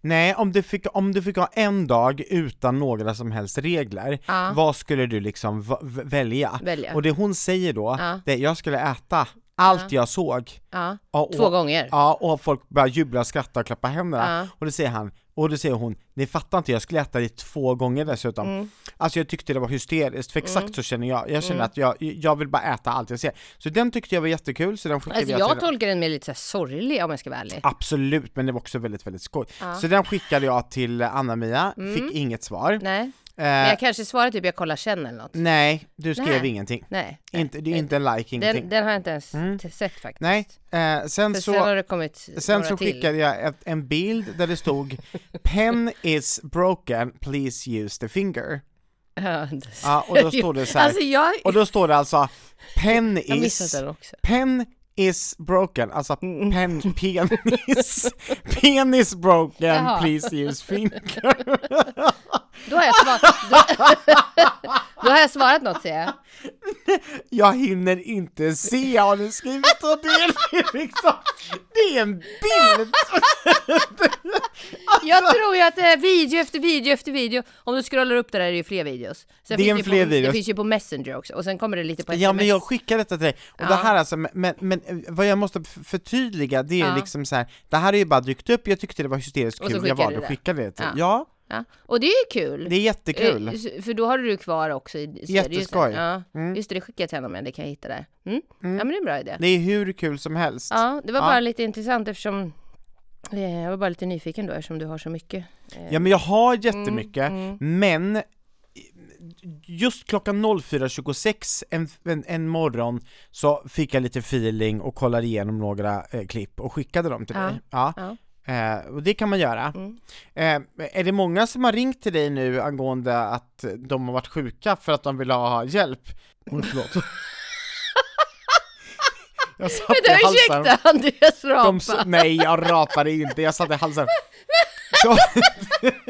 [SPEAKER 1] Nej, om du, fick, om du fick ha en dag utan några som helst regler,
[SPEAKER 2] Ja.
[SPEAKER 1] vad skulle du liksom v- v- välja?
[SPEAKER 2] Välja.
[SPEAKER 1] Och det hon säger då,
[SPEAKER 2] Ja.
[SPEAKER 1] det är jag skulle äta allt jag såg.
[SPEAKER 2] Ja,
[SPEAKER 1] Ja, och,
[SPEAKER 2] två gånger.
[SPEAKER 1] Ja, och folk börjar jubla, skratta och klappa händerna.
[SPEAKER 2] Ja.
[SPEAKER 1] Och då säger han, och då säger hon, ni fattar inte, jag skulle äta det två gånger dessutom.
[SPEAKER 2] Mm.
[SPEAKER 1] Alltså jag tyckte det var hysteriskt, för exakt så känner jag. Jag känner att jag, jag vill bara äta allt jag ser. Så den tyckte jag var jättekul, så den skickade
[SPEAKER 2] Alltså
[SPEAKER 1] jag
[SPEAKER 2] jag
[SPEAKER 1] till
[SPEAKER 2] tolkar den med lite så här sorglig om jag ska vara ärlig.
[SPEAKER 1] Absolut, men det var också väldigt, väldigt skoj. Så den skickade jag till Anna-Mia, fick inget svar.
[SPEAKER 2] Mm. Nej,
[SPEAKER 1] Eh,
[SPEAKER 2] men jag kanske svarar typ jag kollar sen eller något.
[SPEAKER 1] nej, du skrev
[SPEAKER 2] Nej.
[SPEAKER 1] ingenting.
[SPEAKER 2] Nej,
[SPEAKER 1] Mm. Inte, det är inte en like, ingenting. Mm.
[SPEAKER 2] den, den har jag inte ens t- sett faktiskt.
[SPEAKER 1] nej, eh, sen
[SPEAKER 2] För
[SPEAKER 1] så...
[SPEAKER 2] sen har det kommit
[SPEAKER 1] Sen
[SPEAKER 2] några
[SPEAKER 1] så
[SPEAKER 2] till.
[SPEAKER 1] skickade jag ett, en bild där det stod “Pen is broken, please use the finger”.
[SPEAKER 2] <laughs> Ja, det-
[SPEAKER 1] Ja, och då står det så här.
[SPEAKER 2] Alltså jag,
[SPEAKER 1] Och då står det alltså “Pen
[SPEAKER 2] jag missade
[SPEAKER 1] is,
[SPEAKER 2] den också.
[SPEAKER 1] pen is broken”, alltså pen, penis, penis broken,
[SPEAKER 2] Jaha.
[SPEAKER 1] please use finger.
[SPEAKER 2] Då har jag svarat, då, <laughs> då har jag svarat något säger jag.
[SPEAKER 1] Jag hinner inte se, har ni skrivit och det är liksom, det är en bild!
[SPEAKER 2] Jag tror ju att det är video efter video efter video. Om du scrollar upp det där är det ju fler videos. Sen
[SPEAKER 1] Det är
[SPEAKER 2] finns
[SPEAKER 1] en
[SPEAKER 2] ju på-
[SPEAKER 1] fler videos.
[SPEAKER 2] Det finns ju på Messenger också och sen kommer det lite på
[SPEAKER 1] Ja men
[SPEAKER 2] SMS.
[SPEAKER 1] jag skickar detta till dig, och det här alltså, men, men, men vad jag måste f- förtydliga det är
[SPEAKER 2] Ja.
[SPEAKER 1] liksom så här. det här är ju bara dykt upp, jag tyckte det var hysteriskt
[SPEAKER 2] Och så
[SPEAKER 1] kul, jag
[SPEAKER 2] skickar
[SPEAKER 1] valde
[SPEAKER 2] du
[SPEAKER 1] att
[SPEAKER 2] det.
[SPEAKER 1] skicka det till. Ja.
[SPEAKER 2] Ja. ja. Och det är ju kul.
[SPEAKER 1] det är jättekul.
[SPEAKER 2] Eh, s- För då har du det kvar också. i- så är det ju så-
[SPEAKER 1] Jätteskoj. Mm.
[SPEAKER 2] Ja. Just det, det skickar jag till honom, ja, det kan jag hitta där. Mm. Ja men det är en bra idé.
[SPEAKER 1] Det är hur kul som helst.
[SPEAKER 2] Ja, det var
[SPEAKER 1] Ja.
[SPEAKER 2] bara lite intressant eftersom eh, jag var bara lite nyfiken då eftersom du har så mycket.
[SPEAKER 1] Ja men jag
[SPEAKER 2] Mm,
[SPEAKER 1] har jättemycket, men just klockan 04.26 en, en, en morgon så fick jag lite feeling och kollade igenom några eh, klipp och skickade dem till
[SPEAKER 2] Ja.
[SPEAKER 1] dig. Ja.
[SPEAKER 2] Ja. Mm.
[SPEAKER 1] Eh, och det kan man göra. Eh, är det många som har ringt till dig nu angående att de har varit sjuka för att de vill ha hjälp? Oj,
[SPEAKER 2] <laughs>
[SPEAKER 1] förlåt. jag satt i
[SPEAKER 2] Vänta,
[SPEAKER 1] halsen.
[SPEAKER 2] <laughs> ursäkta Andreas
[SPEAKER 1] De,
[SPEAKER 2] Rapa!
[SPEAKER 1] s- nej, jag rapade inte, jag satte i
[SPEAKER 2] <laughs>
[SPEAKER 1] halsen. De, <laughs>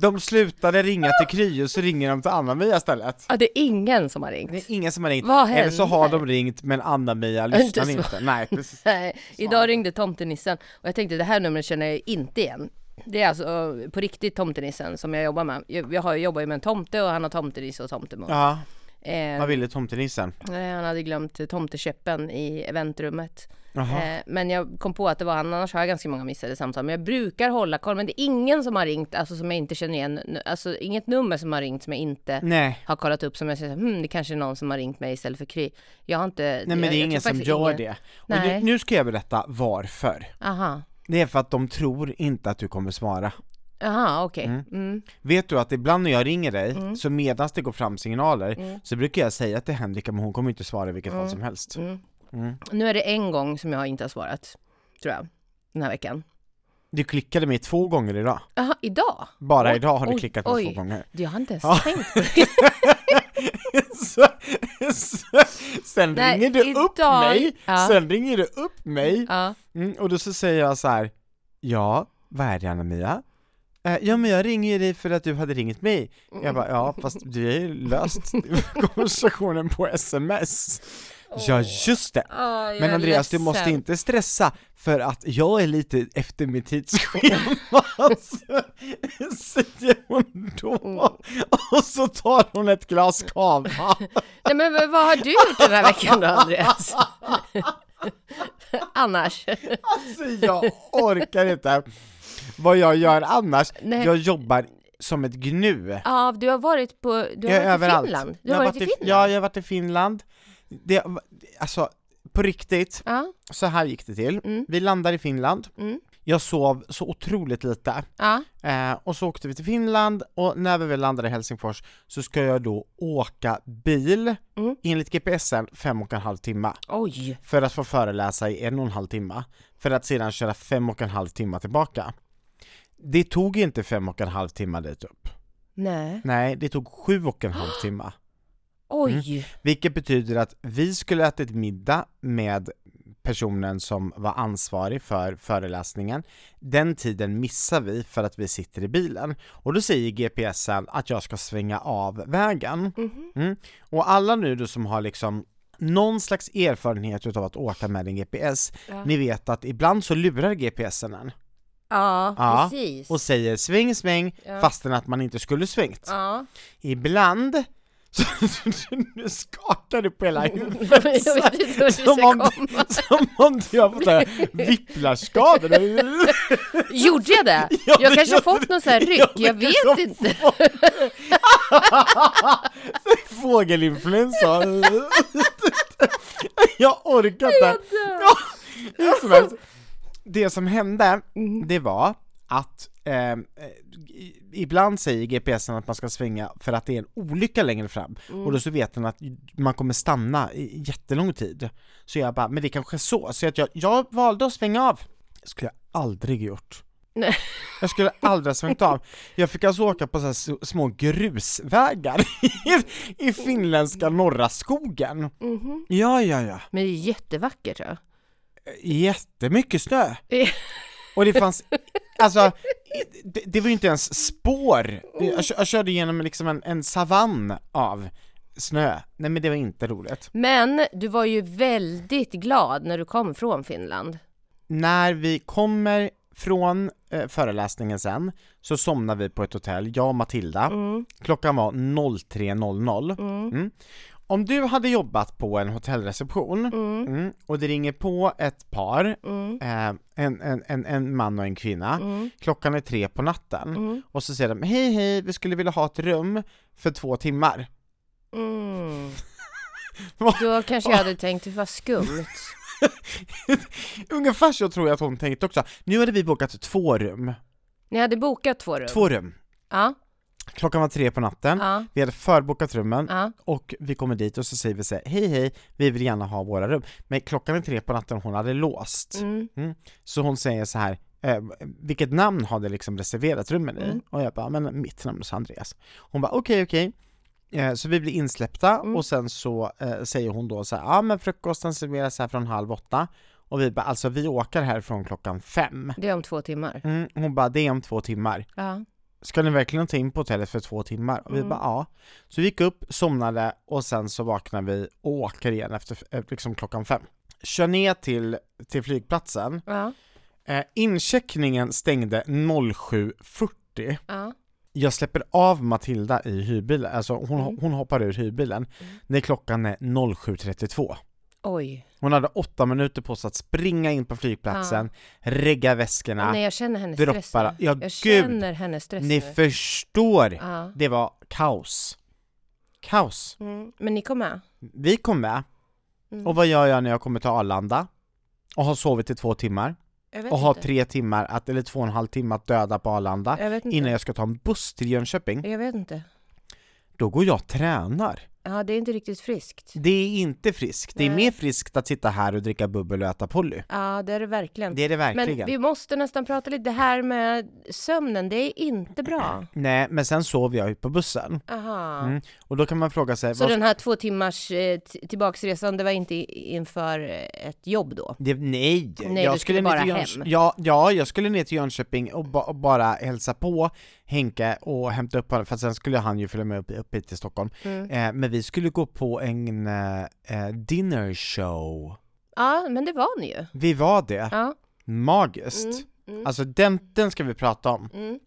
[SPEAKER 1] de slutade ringa till Kry och så ringer de till Anna-Mia istället.
[SPEAKER 2] Ja, det är ingen som har
[SPEAKER 1] Det
[SPEAKER 2] ringt.
[SPEAKER 1] är ingen som har ringt.
[SPEAKER 2] Vad
[SPEAKER 1] Eller så har
[SPEAKER 2] händer?
[SPEAKER 1] de ringt men Anna-Mia lyssnar
[SPEAKER 2] Inte
[SPEAKER 1] inte.
[SPEAKER 2] svar.
[SPEAKER 1] Nej, precis.
[SPEAKER 2] <laughs> Nej, idag ringde tomtenissen och jag tänkte det här numret känner jag inte igen. Det är alltså eh, på riktigt tomtenissen som jag jobbar med. Jag, jag har, jag jobbar ju med en tomte och han har tomtenisse och tomtemor.
[SPEAKER 1] Ja,
[SPEAKER 2] Eh,
[SPEAKER 1] vad ville tomtenissen?
[SPEAKER 2] nej, han hade glömt eh, tomtekäppen i eventrummet.
[SPEAKER 1] Jaha.
[SPEAKER 2] Eh, men jag kom på att det var han, annars har jag ganska många missade samtal. Men jag brukar hålla koll, men det är ingen som har ringt, alltså som jag inte känner igen, alltså inget nummer som har ringt som jag inte
[SPEAKER 1] Nej,
[SPEAKER 2] har kollat upp som jag känner, hm, det kanske är någon som har ringt mig istället för Kry. Jag har inte...
[SPEAKER 1] nej men
[SPEAKER 2] jag,
[SPEAKER 1] det är
[SPEAKER 2] jag
[SPEAKER 1] ingen
[SPEAKER 2] tror
[SPEAKER 1] som
[SPEAKER 2] faktiskt
[SPEAKER 1] gör
[SPEAKER 2] ingen-
[SPEAKER 1] det. Och nu,
[SPEAKER 2] Nej.
[SPEAKER 1] nu ska jag berätta varför.
[SPEAKER 2] Aha.
[SPEAKER 1] Det är för att de tror inte att du kommer svara.
[SPEAKER 2] Jaha, okej. Mm.
[SPEAKER 1] Vet du att ibland när jag ringer dig, så medan det går fram signaler,
[SPEAKER 2] Mm.
[SPEAKER 1] så brukar jag säga till Henrika, men hon kommer inte svara i vilket fall som helst.
[SPEAKER 2] Nu är det en gång som jag inte har svarat, tror jag, den här veckan.
[SPEAKER 1] Du klickade mig två gånger idag.
[SPEAKER 2] Jaha, idag?
[SPEAKER 1] Bara
[SPEAKER 2] Oj,
[SPEAKER 1] idag har du
[SPEAKER 2] oj,
[SPEAKER 1] klickat mig
[SPEAKER 2] oj.
[SPEAKER 1] två gånger.
[SPEAKER 2] Det har jag inte ens
[SPEAKER 1] Ja.
[SPEAKER 2] tänkt på.
[SPEAKER 1] <laughs>
[SPEAKER 2] det.
[SPEAKER 1] så, så, sen
[SPEAKER 2] Nej,
[SPEAKER 1] ringer du upp
[SPEAKER 2] idag-
[SPEAKER 1] mig,
[SPEAKER 2] ja.
[SPEAKER 1] sen ringer du upp mig,
[SPEAKER 2] Ja.
[SPEAKER 1] mm, och då så säger jag så här, ja, vad är det Anna-Mia? Eh, ja men jag ringer ju dig för att du hade ringt mig. Jag bara, ja fast du har ju löst <laughs> konversationen på sms. Ja just det!
[SPEAKER 2] jag är
[SPEAKER 1] Men Andreas, du måste
[SPEAKER 2] ledsen.
[SPEAKER 1] inte stressa för att jag är lite efter mitt tidsschema, <laughs> så- säger hon
[SPEAKER 2] Mm.
[SPEAKER 1] då. Och så tar hon ett glas kava.
[SPEAKER 2] Nej men vad- vad har du gjort den här veckan då Andreas? <laughs> Annars?
[SPEAKER 1] Alltså jag orkar inte. Vad jag gör annars,
[SPEAKER 2] Nej.
[SPEAKER 1] jag jobbar som ett gnu.
[SPEAKER 2] Ja, du har varit på, du har
[SPEAKER 1] jag är
[SPEAKER 2] varit
[SPEAKER 1] överallt.
[SPEAKER 2] i Finland. Du
[SPEAKER 1] Jag
[SPEAKER 2] har varit i Finland?
[SPEAKER 1] Ja, jag har varit i Finland. Det, alltså, på riktigt,
[SPEAKER 2] Ja,
[SPEAKER 1] så här gick det till. Vi landar i Finland.
[SPEAKER 2] Mm.
[SPEAKER 1] Jag sov så otroligt lite.
[SPEAKER 2] ja,
[SPEAKER 1] Eh, och så åkte vi till Finland och när vi väl landade i Helsingfors så ska jag då åka bil,
[SPEAKER 2] Mm.
[SPEAKER 1] enligt GPSen, fem och en halv timme.
[SPEAKER 2] oj.
[SPEAKER 1] För att få föreläsa i en och en halv timme. För att sedan köra fem och en halv timme tillbaka. Det tog inte fem och en halv timme dit upp.
[SPEAKER 2] Nej,
[SPEAKER 1] Nej, det tog sju och en halv timme.
[SPEAKER 2] oj.
[SPEAKER 1] Mm. Vilket betyder att vi skulle ätit middag med personen som var ansvarig för föreläsningen. Den tiden missar vi för att vi sitter i bilen. Och då säger GPSen att jag ska svänga av vägen. Mm. Och alla nu då som har liksom någon slags erfarenhet utav att åka med en GPS, ni vet att ibland så lurar GPSen en
[SPEAKER 2] Ja,
[SPEAKER 1] Ja,
[SPEAKER 2] precis.
[SPEAKER 1] och säger sväng, sväng, fastän att man inte skulle svängt.
[SPEAKER 2] Ja.
[SPEAKER 1] Ibland så <laughs> nu skakar du på hela huvudet
[SPEAKER 2] Mm. <laughs> Jag
[SPEAKER 1] så
[SPEAKER 2] vet inte hur det
[SPEAKER 1] här, som,
[SPEAKER 2] ska
[SPEAKER 1] om,
[SPEAKER 2] komma.
[SPEAKER 1] som om du har fått så
[SPEAKER 2] <laughs>
[SPEAKER 1] här whiplashskador
[SPEAKER 2] Gjorde jag det?
[SPEAKER 1] <laughs> Ja,
[SPEAKER 2] jag
[SPEAKER 1] det
[SPEAKER 2] kanske har
[SPEAKER 1] gjorde
[SPEAKER 2] fått
[SPEAKER 1] du.
[SPEAKER 2] någon sån här ryck,
[SPEAKER 1] Ja, det
[SPEAKER 2] jag vet
[SPEAKER 1] kanske
[SPEAKER 2] inte.
[SPEAKER 1] Fågelinfluensa <laughs> Jag orkar inte Ja, hur som helst. Det som hände, det var att eh, i- ibland säger GPSen att man ska svänga för att det är en olycka längre fram och då så vet den att man kommer stanna i jättelång tid. Så jag bara, men det kanske är så, så att jag, jag valde att svänga av. Det skulle jag aldrig gjort.
[SPEAKER 2] Nej.
[SPEAKER 1] Jag skulle aldrig ha svängt av. Jag fick alltså åka på så här s- små grusvägar <laughs> i, i finländska norra skogen. Ja, ja, ja.
[SPEAKER 2] Men det är jättevackert tror jag.
[SPEAKER 1] Jättemycket snö.
[SPEAKER 2] Ja.
[SPEAKER 1] Och det fanns, alltså, i- det, det var ju inte ens spår. Jag, kö- jag körde genom liksom en, en savann av snö. Nej men det var inte roligt.
[SPEAKER 2] Men du var ju väldigt glad när du kom från Finland.
[SPEAKER 1] När vi kommer från eh, föreläsningen sen, så somnar vi på ett hotell, jag och Matilda. Klockan var 03.00. Mm. Om du hade jobbat på en hotellreception mm, och det ringer på ett par, eh, en, en, en, en man och en kvinna, klockan är tre på natten och så säger de hej hej, vi skulle vilja ha ett rum för två timmar. <laughs>
[SPEAKER 2] Mm.
[SPEAKER 1] Vad-
[SPEAKER 2] Då kanske jag hade tänkt, det var skumt.
[SPEAKER 1] Ungefär så tror jag att hon tänkte också. Nu hade vi bokat två rum.
[SPEAKER 2] Ni hade bokat två rum?
[SPEAKER 1] Två rum.
[SPEAKER 2] Ja,
[SPEAKER 1] Klockan var tre på natten,
[SPEAKER 2] ja,
[SPEAKER 1] vi hade förbokat rummen,
[SPEAKER 2] ja.
[SPEAKER 1] Och vi kommer dit och så säger vi så här, hej hej, vi vill gärna ha våra rum. Men klockan är tre på natten och hon hade låst.
[SPEAKER 2] Mm.
[SPEAKER 1] Så hon säger så här, eh, vilket namn har det liksom reserverat rummen i?
[SPEAKER 2] Mm.
[SPEAKER 1] Och jag bara, men mitt namn är Andreas. Hon bara, okej okej. Eh, Så vi blir insläppta
[SPEAKER 2] Mm.
[SPEAKER 1] och sen så eh, säger hon då så här, ja men frukosten serveras här från halv åtta. Och vi bara, alltså vi åker härifrån klockan fem.
[SPEAKER 2] Det är om två timmar.
[SPEAKER 1] Mm, hon bara, det är om två timmar
[SPEAKER 2] Ja.
[SPEAKER 1] ska ni verkligen ta in på hotellet för två timmar? Och vi bara ja. Så vi gick upp, somnade och sen så vaknade vi och åker igen efter eh, liksom klockan fem. Kör ner till, till flygplatsen.
[SPEAKER 2] Ja,
[SPEAKER 1] Eh, incheckningen stängde 07.40.
[SPEAKER 2] ja.
[SPEAKER 1] Jag släpper av Matilda i hyrbilen, alltså hon, hon hoppar ur hyrbilen när klockan är 07.32.
[SPEAKER 2] Oj.
[SPEAKER 1] Hon hade åtta minuter på sig att springa in på flygplatsen, regga väskorna,
[SPEAKER 2] Nej, jag känner hennes stress
[SPEAKER 1] droppar...
[SPEAKER 2] nu.
[SPEAKER 1] Ja,
[SPEAKER 2] Jag
[SPEAKER 1] gud!
[SPEAKER 2] känner hennes stress
[SPEAKER 1] Ni
[SPEAKER 2] nu.
[SPEAKER 1] förstår!
[SPEAKER 2] Ja.
[SPEAKER 1] Det var kaos. Kaos.
[SPEAKER 2] Mm. Men ni kom med?
[SPEAKER 1] Vi
[SPEAKER 2] Mm.
[SPEAKER 1] kom med, och vad gör jag när jag kommer till Arlanda? Och har sovit i två timmar?
[SPEAKER 2] Jag vet
[SPEAKER 1] och ha
[SPEAKER 2] inte.
[SPEAKER 1] tre timmar, att, eller två och en halv timme att döda på Arlanda
[SPEAKER 2] Jag vet inte.
[SPEAKER 1] innan jag ska ta en buss till Jönköping,
[SPEAKER 2] Jag vet inte.
[SPEAKER 1] då går jag och tränar.
[SPEAKER 2] Ja, det är inte riktigt friskt.
[SPEAKER 1] Det är inte friskt. Det är mer friskt att sitta här och dricka bubbel och äta Polly.
[SPEAKER 2] Ja, det är det verkligen.
[SPEAKER 1] Det är det verkligen.
[SPEAKER 2] Men vi måste nästan prata lite, det här med sömnen, det är inte bra.
[SPEAKER 1] Nej, men sen sov jag ju på bussen.
[SPEAKER 2] Aha.
[SPEAKER 1] Mm. Och då kan man fråga sig,
[SPEAKER 2] Så
[SPEAKER 1] vad...
[SPEAKER 2] den här två timmars eh, t- tillbaksresan, det var inte i- inför eh, ett jobb då?
[SPEAKER 1] det, nej,
[SPEAKER 2] Nej, du skulle
[SPEAKER 1] ner
[SPEAKER 2] bara
[SPEAKER 1] till
[SPEAKER 2] hem.
[SPEAKER 1] Ja, ja, jag skulle ner till Jönköping och, ba- och bara hälsa på Henke och hämta upp honom, för sen skulle han ju följa med upp, upp hit till Stockholm.
[SPEAKER 2] Mm.
[SPEAKER 1] Eh, men vi skulle gå på en eh, eh, dinner show.
[SPEAKER 2] Ja, men det var ni ju.
[SPEAKER 1] Vi var det.
[SPEAKER 2] Ja. Mm,
[SPEAKER 1] Magiskt. Alltså den, den ska vi prata om. Mm.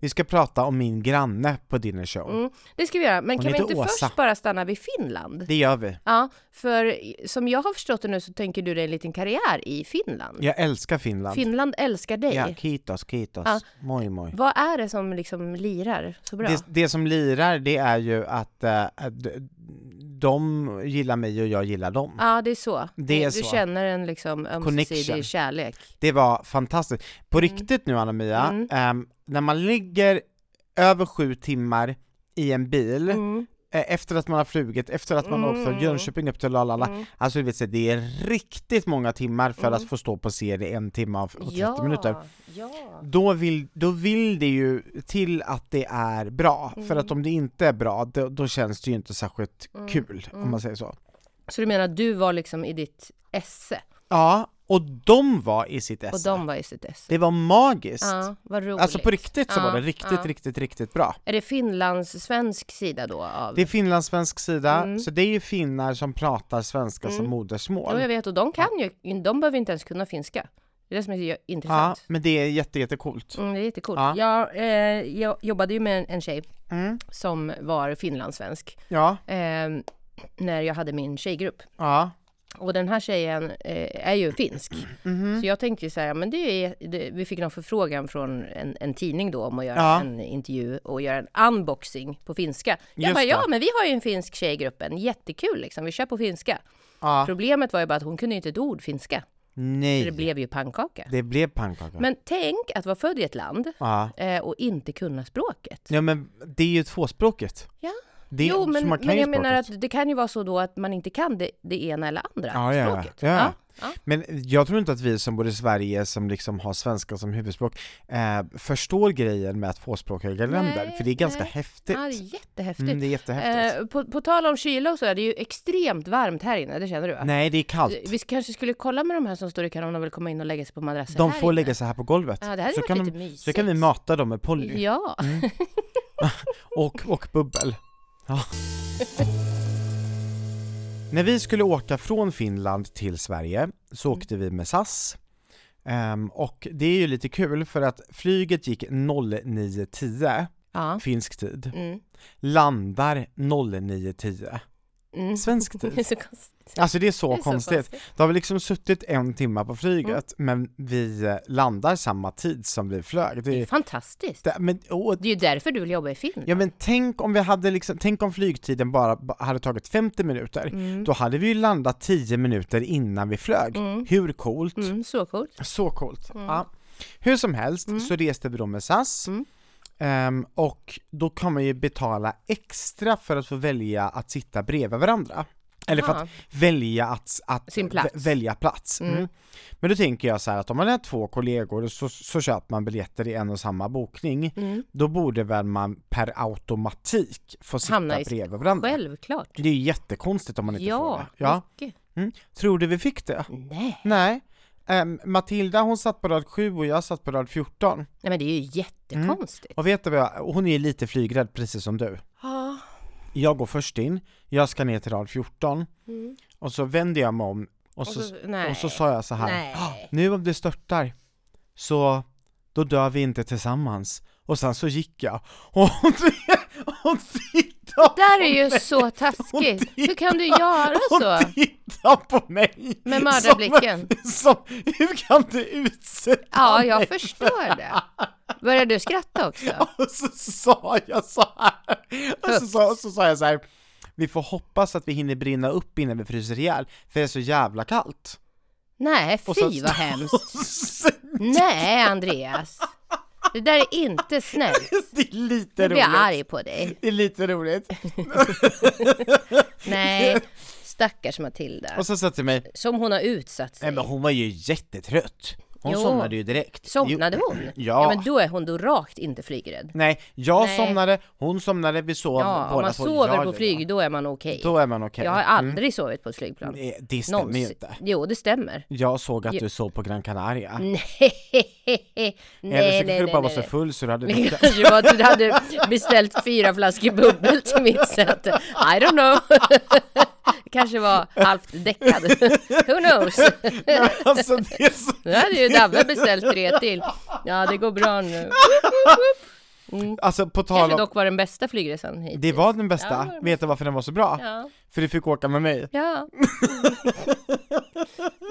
[SPEAKER 1] Vi ska prata om min granne på dinner show.
[SPEAKER 2] Mm. Det ska vi göra, men
[SPEAKER 1] Hon
[SPEAKER 2] kan vi
[SPEAKER 1] heter
[SPEAKER 2] inte
[SPEAKER 1] Åsa.
[SPEAKER 2] först bara stanna vid Finland?
[SPEAKER 1] Det gör vi.
[SPEAKER 2] Ja, för i- som jag har förstått det nu så tänker du dig en liten karriär i Finland.
[SPEAKER 1] Jag älskar Finland.
[SPEAKER 2] Finland älskar dig.
[SPEAKER 1] Ja, kitos, kitos.
[SPEAKER 2] Ja.
[SPEAKER 1] Moj, moj.
[SPEAKER 2] Vad är det som liksom lirar så bra?
[SPEAKER 1] Det, det som lirar det är ju att, eh, att d- de gillar mig och jag gillar dem.
[SPEAKER 2] Ja, det är så.
[SPEAKER 1] Det är
[SPEAKER 2] du
[SPEAKER 1] så.
[SPEAKER 2] känner en liksom
[SPEAKER 1] Connection.
[SPEAKER 2] ömsesidig kärlek.
[SPEAKER 1] Det var fantastiskt. På
[SPEAKER 2] Mm.
[SPEAKER 1] riktigt nu Anna-Mia, ehm, när man ligger över sju timmar i en bil,
[SPEAKER 2] Mm.
[SPEAKER 1] eh, efter att man har flugit, efter att man har åkt från Jönköping upp till Arlanda,
[SPEAKER 2] Mm.
[SPEAKER 1] alltså du vet, så det är riktigt många timmar för att få stå på scen i en timme och 30
[SPEAKER 2] ja,
[SPEAKER 1] minuter.
[SPEAKER 2] ja.
[SPEAKER 1] då vill, då vill det ju till att det är bra, för att
[SPEAKER 2] Mm.
[SPEAKER 1] om det inte är bra, då, då känns det ju inte särskilt kul,
[SPEAKER 2] mm.
[SPEAKER 1] om man säger så.
[SPEAKER 2] Så du menar att du var liksom i ditt esse
[SPEAKER 1] Ja, och de var i sitt
[SPEAKER 2] och
[SPEAKER 1] esse.
[SPEAKER 2] de var i sitt esse?
[SPEAKER 1] Det var magiskt.
[SPEAKER 2] Ja, vad roligt.
[SPEAKER 1] Alltså på riktigt så
[SPEAKER 2] Ja,
[SPEAKER 1] var det riktigt,
[SPEAKER 2] ja.
[SPEAKER 1] riktigt, riktigt bra.
[SPEAKER 2] Är det Finlands svensk sida då? Av...
[SPEAKER 1] Det är finlandssvensk sida,
[SPEAKER 2] Mm.
[SPEAKER 1] så det är ju finnar som pratar svenska som
[SPEAKER 2] Ja, jag
[SPEAKER 1] modersmål.
[SPEAKER 2] vet, och de kan ju, de behöver inte ens kunna finska. Det är det som är
[SPEAKER 1] Ja,
[SPEAKER 2] intressant.
[SPEAKER 1] men det är jätte, jättecoolt.
[SPEAKER 2] Mm, det är jättecoolt.
[SPEAKER 1] Ja.
[SPEAKER 2] Jag, eh, jag jobbade ju med en, en tjej
[SPEAKER 1] Mm.
[SPEAKER 2] som var finlandssvensk
[SPEAKER 1] Ja,
[SPEAKER 2] eh, när jag hade min tjejgrupp.
[SPEAKER 1] ja,
[SPEAKER 2] Och den här tjejen eh, är ju finsk.
[SPEAKER 1] Mhm.
[SPEAKER 2] Så jag tänkte ju så här, men det är, det, vi fick någon förfrågan från en, en tidning då om att göra
[SPEAKER 1] Ja.
[SPEAKER 2] en intervju och göra en unboxing på finska. Jag
[SPEAKER 1] Just
[SPEAKER 2] bara, ja
[SPEAKER 1] det.
[SPEAKER 2] men vi har ju en finsk tjej i gruppen, jättekul liksom, vi kör på finska.
[SPEAKER 1] ja.
[SPEAKER 2] Problemet var ju bara att hon kunde ju inte ett ord finska. Så det
[SPEAKER 1] Nej,
[SPEAKER 2] blev ju pannkaka.
[SPEAKER 1] det blev pannkaka.
[SPEAKER 2] Men tänk att vara född i ett land
[SPEAKER 1] Ja.
[SPEAKER 2] eh, och inte kunna språket.
[SPEAKER 1] ja, men det är ju tvåspråkigt.
[SPEAKER 2] Ja.
[SPEAKER 1] Det,
[SPEAKER 2] jo,
[SPEAKER 1] så
[SPEAKER 2] men,
[SPEAKER 1] man kan
[SPEAKER 2] men
[SPEAKER 1] ju
[SPEAKER 2] jag menar
[SPEAKER 1] språket.
[SPEAKER 2] att det kan ju vara så då att man inte kan det, det ena eller andra
[SPEAKER 1] Ja, ja, ja.
[SPEAKER 2] språket.
[SPEAKER 1] Ja, ja.
[SPEAKER 2] ja.
[SPEAKER 1] Men jag tror inte att vi som bor i Sverige, som liksom har svenska som huvudspråk, eh, förstår grejen med att tvåspråkiga länder, för det är ganska
[SPEAKER 2] nej.
[SPEAKER 1] häftigt.
[SPEAKER 2] Ja, det är jättehäftigt.
[SPEAKER 1] Mm, det är jättehäftigt.
[SPEAKER 2] Eh, på, på tal om kyla och så, det är ju extremt varmt här inne, det känner du va?
[SPEAKER 1] Nej, det är kallt.
[SPEAKER 2] Vi kanske skulle kolla med de här som står i kö om de vill komma in och lägga sig på madrassen
[SPEAKER 1] De
[SPEAKER 2] här
[SPEAKER 1] får
[SPEAKER 2] inne.
[SPEAKER 1] lägga sig här på golvet.
[SPEAKER 2] Ja, det hade
[SPEAKER 1] så,
[SPEAKER 2] varit
[SPEAKER 1] kan
[SPEAKER 2] lite
[SPEAKER 1] de,
[SPEAKER 2] mysigt.
[SPEAKER 1] så kan vi mata dem med Polly
[SPEAKER 2] Ja,
[SPEAKER 1] och, och bubbel. Ja. När vi skulle åka från Finland till Sverige så
[SPEAKER 2] Mm.
[SPEAKER 1] åkte vi med SAS. Ehm, och det är ju lite kul för att flyget gick 09.10
[SPEAKER 2] ja.
[SPEAKER 1] finsk tid.
[SPEAKER 2] Mm.
[SPEAKER 1] landar 09.10
[SPEAKER 2] Mm.
[SPEAKER 1] svensk
[SPEAKER 2] <laughs> Det är
[SPEAKER 1] tid.
[SPEAKER 2] så konstigt.
[SPEAKER 1] Alltså det är så
[SPEAKER 2] Det är så
[SPEAKER 1] konstigt. Då har vi liksom suttit en timme på flyget
[SPEAKER 2] Mm.
[SPEAKER 1] men vi eh, landar samma tid som vi flög.
[SPEAKER 2] Det
[SPEAKER 1] Det
[SPEAKER 2] är
[SPEAKER 1] är,
[SPEAKER 2] fantastiskt.
[SPEAKER 1] det, men, åh,
[SPEAKER 2] Det är ju därför du vill jobba i Finland.
[SPEAKER 1] ja men tänk om vi hade liksom, tänk om flygtiden bara ba- hade tagit 50 minuter. Då hade vi ju landat 10 minuter innan vi flög. Hur coolt?
[SPEAKER 2] Mm, så coolt.
[SPEAKER 1] Så coolt.
[SPEAKER 2] Mm.
[SPEAKER 1] Ja. Hur som helst så reste vi då med SAS. Ehm, och då kan man ju betala extra för att få välja att sitta bredvid varandra. Eller för
[SPEAKER 2] Aha.
[SPEAKER 1] att välja att, att
[SPEAKER 2] Ah. Sin plats.
[SPEAKER 1] vä- välja plats. Mm. Men då tänker jag så här att om man är två kollegor så, så köper man biljetter i en och samma bokning,
[SPEAKER 2] Mm.
[SPEAKER 1] då borde väl man per automatik få sitta
[SPEAKER 2] Hamna i-
[SPEAKER 1] bredvid varandra.
[SPEAKER 2] Självklart.
[SPEAKER 1] Det är ju jättekonstigt om man inte får
[SPEAKER 2] Ja,
[SPEAKER 1] det. Ja.
[SPEAKER 2] mycket.
[SPEAKER 1] Tror du vi fick det?
[SPEAKER 2] Nej.
[SPEAKER 1] Nej. Ehm, Matilda hon satt på rad 7 och jag satt på rad 14.
[SPEAKER 2] Nej, men det är ju jättekonstigt.
[SPEAKER 1] Och vet du vad jag, hon är ju lite flygrädd precis som du. Ah,
[SPEAKER 2] Ja.
[SPEAKER 1] Jag går först in, jag ska ner till rad 14 och så vänder jag mig om och så, och
[SPEAKER 2] Mm. så-
[SPEAKER 1] så,
[SPEAKER 2] nej.
[SPEAKER 1] sa jag så här.
[SPEAKER 2] Nej.
[SPEAKER 1] "Ah, Nu om det störtar så då dör vi inte tillsammans. Och sen så gick jag och hon, <laughs> hon tittade
[SPEAKER 2] Det här är ju så
[SPEAKER 1] Hon
[SPEAKER 2] taskigt. Hur kan du
[SPEAKER 1] tittar-
[SPEAKER 2] göra så?
[SPEAKER 1] Hon tittar på mig!
[SPEAKER 2] Med mördarblicken. Ah.
[SPEAKER 1] Som, som, hur kan du utsätta
[SPEAKER 2] Ja,
[SPEAKER 1] mig?
[SPEAKER 2] jag förstår det. Börjar du skratta också?
[SPEAKER 1] Och så sa jag så här. Och så, sa- och så sa jag så här. Vi får hoppas att vi hinner brinna upp innan vi fryser ihjäl, för det är så jävla kallt.
[SPEAKER 2] Nej,
[SPEAKER 1] Och
[SPEAKER 2] fy
[SPEAKER 1] så-
[SPEAKER 2] vad hemskt. Nej, Andreas. Det där är inte snällt.
[SPEAKER 1] <laughs> Det är lite
[SPEAKER 2] Nu blir jag
[SPEAKER 1] roligt.
[SPEAKER 2] arg på dig.
[SPEAKER 1] Det är lite roligt.
[SPEAKER 2] Nej, stackars Matilda.
[SPEAKER 1] Och så sa till mig,
[SPEAKER 2] Som hon har utsatt sig.
[SPEAKER 1] nej men hon var ju jättetrött. Hon
[SPEAKER 2] Jo.
[SPEAKER 1] somnade ju direkt.
[SPEAKER 2] Somnade
[SPEAKER 1] Jo.
[SPEAKER 2] hon?
[SPEAKER 1] Ja.
[SPEAKER 2] men då är hon då rakt inte flygrädd.
[SPEAKER 1] Nej, jag
[SPEAKER 2] Nej.
[SPEAKER 1] somnade, hon somnade, vi sov
[SPEAKER 2] Ja, om
[SPEAKER 1] båda
[SPEAKER 2] man
[SPEAKER 1] två.
[SPEAKER 2] sover
[SPEAKER 1] Ja,
[SPEAKER 2] på
[SPEAKER 1] ja,
[SPEAKER 2] flyg,
[SPEAKER 1] ja.
[SPEAKER 2] då är man okej.
[SPEAKER 1] Då är man okej.
[SPEAKER 2] Jag har aldrig sovit på ett flygplan.
[SPEAKER 1] Mm. Eh, Det stämmer ju
[SPEAKER 2] Någonsin.
[SPEAKER 1] inte.
[SPEAKER 2] Jo, det stämmer. <laughs>
[SPEAKER 1] Jag såg att du sov på Gran Canaria.
[SPEAKER 2] Nej, nej,
[SPEAKER 1] Eller så
[SPEAKER 2] nej,
[SPEAKER 1] kanske
[SPEAKER 2] nej,
[SPEAKER 1] du bara var
[SPEAKER 2] <laughs> nej.
[SPEAKER 1] så full så du hade
[SPEAKER 2] Det
[SPEAKER 1] druckit.
[SPEAKER 2] kanske var att Alltså, du hade beställt fyra flaskor bubbel till mitt säte. I don't know. kanske var halvt däckad. Who knows?
[SPEAKER 1] alltså, det är så...
[SPEAKER 2] Nu hade ju Davve beställt tre till. Ja, det går bra nu.
[SPEAKER 1] alltså på tal
[SPEAKER 2] Kanske
[SPEAKER 1] om...
[SPEAKER 2] dock var den bästa flygresan hit.
[SPEAKER 1] Det var den bästa.
[SPEAKER 2] Ja, det var den
[SPEAKER 1] Vet du varför den var så bra?
[SPEAKER 2] Ja.
[SPEAKER 1] För du fick åka med mig.
[SPEAKER 2] Ja. ja.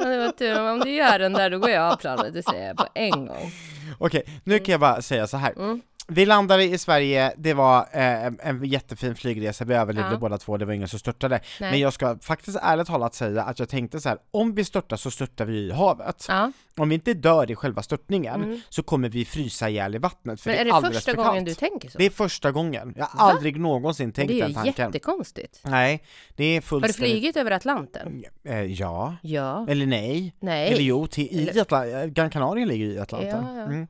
[SPEAKER 2] Det var tur. Om du gör den där, då går jag av planet. Det säger jag på en gång.
[SPEAKER 1] Okej, nu kan jag bara säga så här.
[SPEAKER 2] Mm.
[SPEAKER 1] Vi landade i Sverige, det var eh, en- en jättefin flygresa, vi överlevde
[SPEAKER 2] Ja.
[SPEAKER 1] båda två, det var ingen som störtade.
[SPEAKER 2] Nej.
[SPEAKER 1] Men jag ska faktiskt ärligt talat säga att jag tänkte så här, om vi störtar så störtar vi i havet.
[SPEAKER 2] Ja.
[SPEAKER 1] Om vi inte dör i själva störtningen så kommer vi frysa ihjäl i vattnet, för
[SPEAKER 2] Mm. Men
[SPEAKER 1] det
[SPEAKER 2] är
[SPEAKER 1] är,
[SPEAKER 2] det
[SPEAKER 1] alldeles
[SPEAKER 2] första
[SPEAKER 1] för
[SPEAKER 2] gången
[SPEAKER 1] kallt.
[SPEAKER 2] du tänker så?
[SPEAKER 1] Det är första gången, jag har aldrig någonsin tänkt
[SPEAKER 2] Det är
[SPEAKER 1] den
[SPEAKER 2] ju
[SPEAKER 1] tanken.
[SPEAKER 2] jättekonstigt.
[SPEAKER 1] Nej, det är
[SPEAKER 2] Har du
[SPEAKER 1] fullständigt...
[SPEAKER 2] flugit över Atlanten?
[SPEAKER 1] Eh, ja.
[SPEAKER 2] Ja.
[SPEAKER 1] Eller nej.
[SPEAKER 2] Nej.
[SPEAKER 1] Eller jo, till, i Atla- Gran Canaria ligger ju i Atlanten.
[SPEAKER 2] Ja, ja.
[SPEAKER 1] Mm.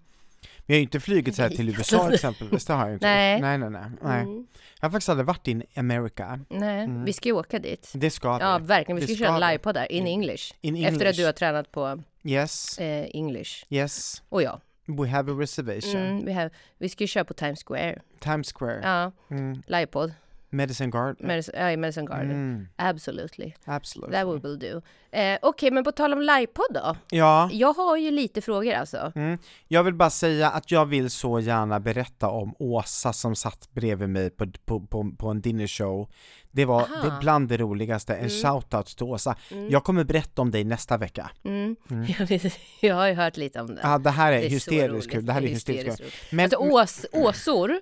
[SPEAKER 1] Men jag har ju inte flugit så här till USA exempelvis, det har jag ju inte.
[SPEAKER 2] Nej. Mm.
[SPEAKER 1] Nej, nej, nej. nej. Jag har faktiskt aldrig varit in America.
[SPEAKER 2] Nej, vi ska ju åka dit.
[SPEAKER 1] Det ska
[SPEAKER 2] Ja,
[SPEAKER 1] vi.
[SPEAKER 2] verkligen. Vi
[SPEAKER 1] Det
[SPEAKER 2] ska, köra
[SPEAKER 1] vi. Mm.
[SPEAKER 2] en livepodd där, in English.
[SPEAKER 1] In
[SPEAKER 2] Efter att
[SPEAKER 1] English.
[SPEAKER 2] du har tränat på
[SPEAKER 1] Yes,
[SPEAKER 2] eh, English.
[SPEAKER 1] yes.
[SPEAKER 2] Och jag.
[SPEAKER 1] We have a reservation.
[SPEAKER 2] Mm, vi, har, vi ska ju köra på Times Square.
[SPEAKER 1] Times Square.
[SPEAKER 2] Ja,
[SPEAKER 1] Mm.
[SPEAKER 2] livepodd.
[SPEAKER 1] Medicine Garden.
[SPEAKER 2] Medicine, ja, i Madison Garden.
[SPEAKER 1] Mm.
[SPEAKER 2] Absolutely.
[SPEAKER 1] Absolut.
[SPEAKER 2] That we will do. Eh, Okej, men på tal om livepodd då.
[SPEAKER 1] Ja,
[SPEAKER 2] Jag har ju lite frågor alltså.
[SPEAKER 1] mm. jag vill bara säga att jag vill så gärna berätta om Åsa som satt bredvid mig på, på, på, på en dinnershow. Det var
[SPEAKER 2] Aha.
[SPEAKER 1] det bland det roligaste, en shoutout till Åsa. Jag kommer berätta om dig nästa vecka.
[SPEAKER 2] Mm. <laughs> jag har ju hört lite om det.
[SPEAKER 1] Ja, det här är,
[SPEAKER 2] Det är så
[SPEAKER 1] hysteriskt
[SPEAKER 2] roligt.
[SPEAKER 1] kul, det här är
[SPEAKER 2] Det är
[SPEAKER 1] hysteriskt kul.
[SPEAKER 2] hysteriskt
[SPEAKER 1] Men Mm.
[SPEAKER 2] Alltså ås, åsor,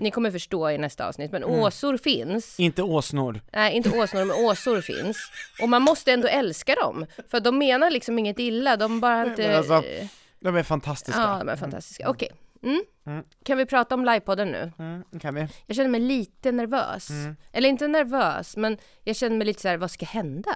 [SPEAKER 2] ni kommer förstå i nästa avsnitt, men åsor finns.
[SPEAKER 1] inte åsnor.
[SPEAKER 2] Nej, inte åsnor, men åsor finns. Och man måste ändå älska dem, för de menar liksom inget illa, de bara
[SPEAKER 1] Men
[SPEAKER 2] inte...
[SPEAKER 1] alltså, de är fantastiska.
[SPEAKER 2] ja, de är fantastiska. Okej. Mm. Kan vi prata om livepodden nu?
[SPEAKER 1] Mm, kan vi?
[SPEAKER 2] Jag känner mig lite nervös. Eller inte nervös, men jag känner mig lite så här, vad ska hända?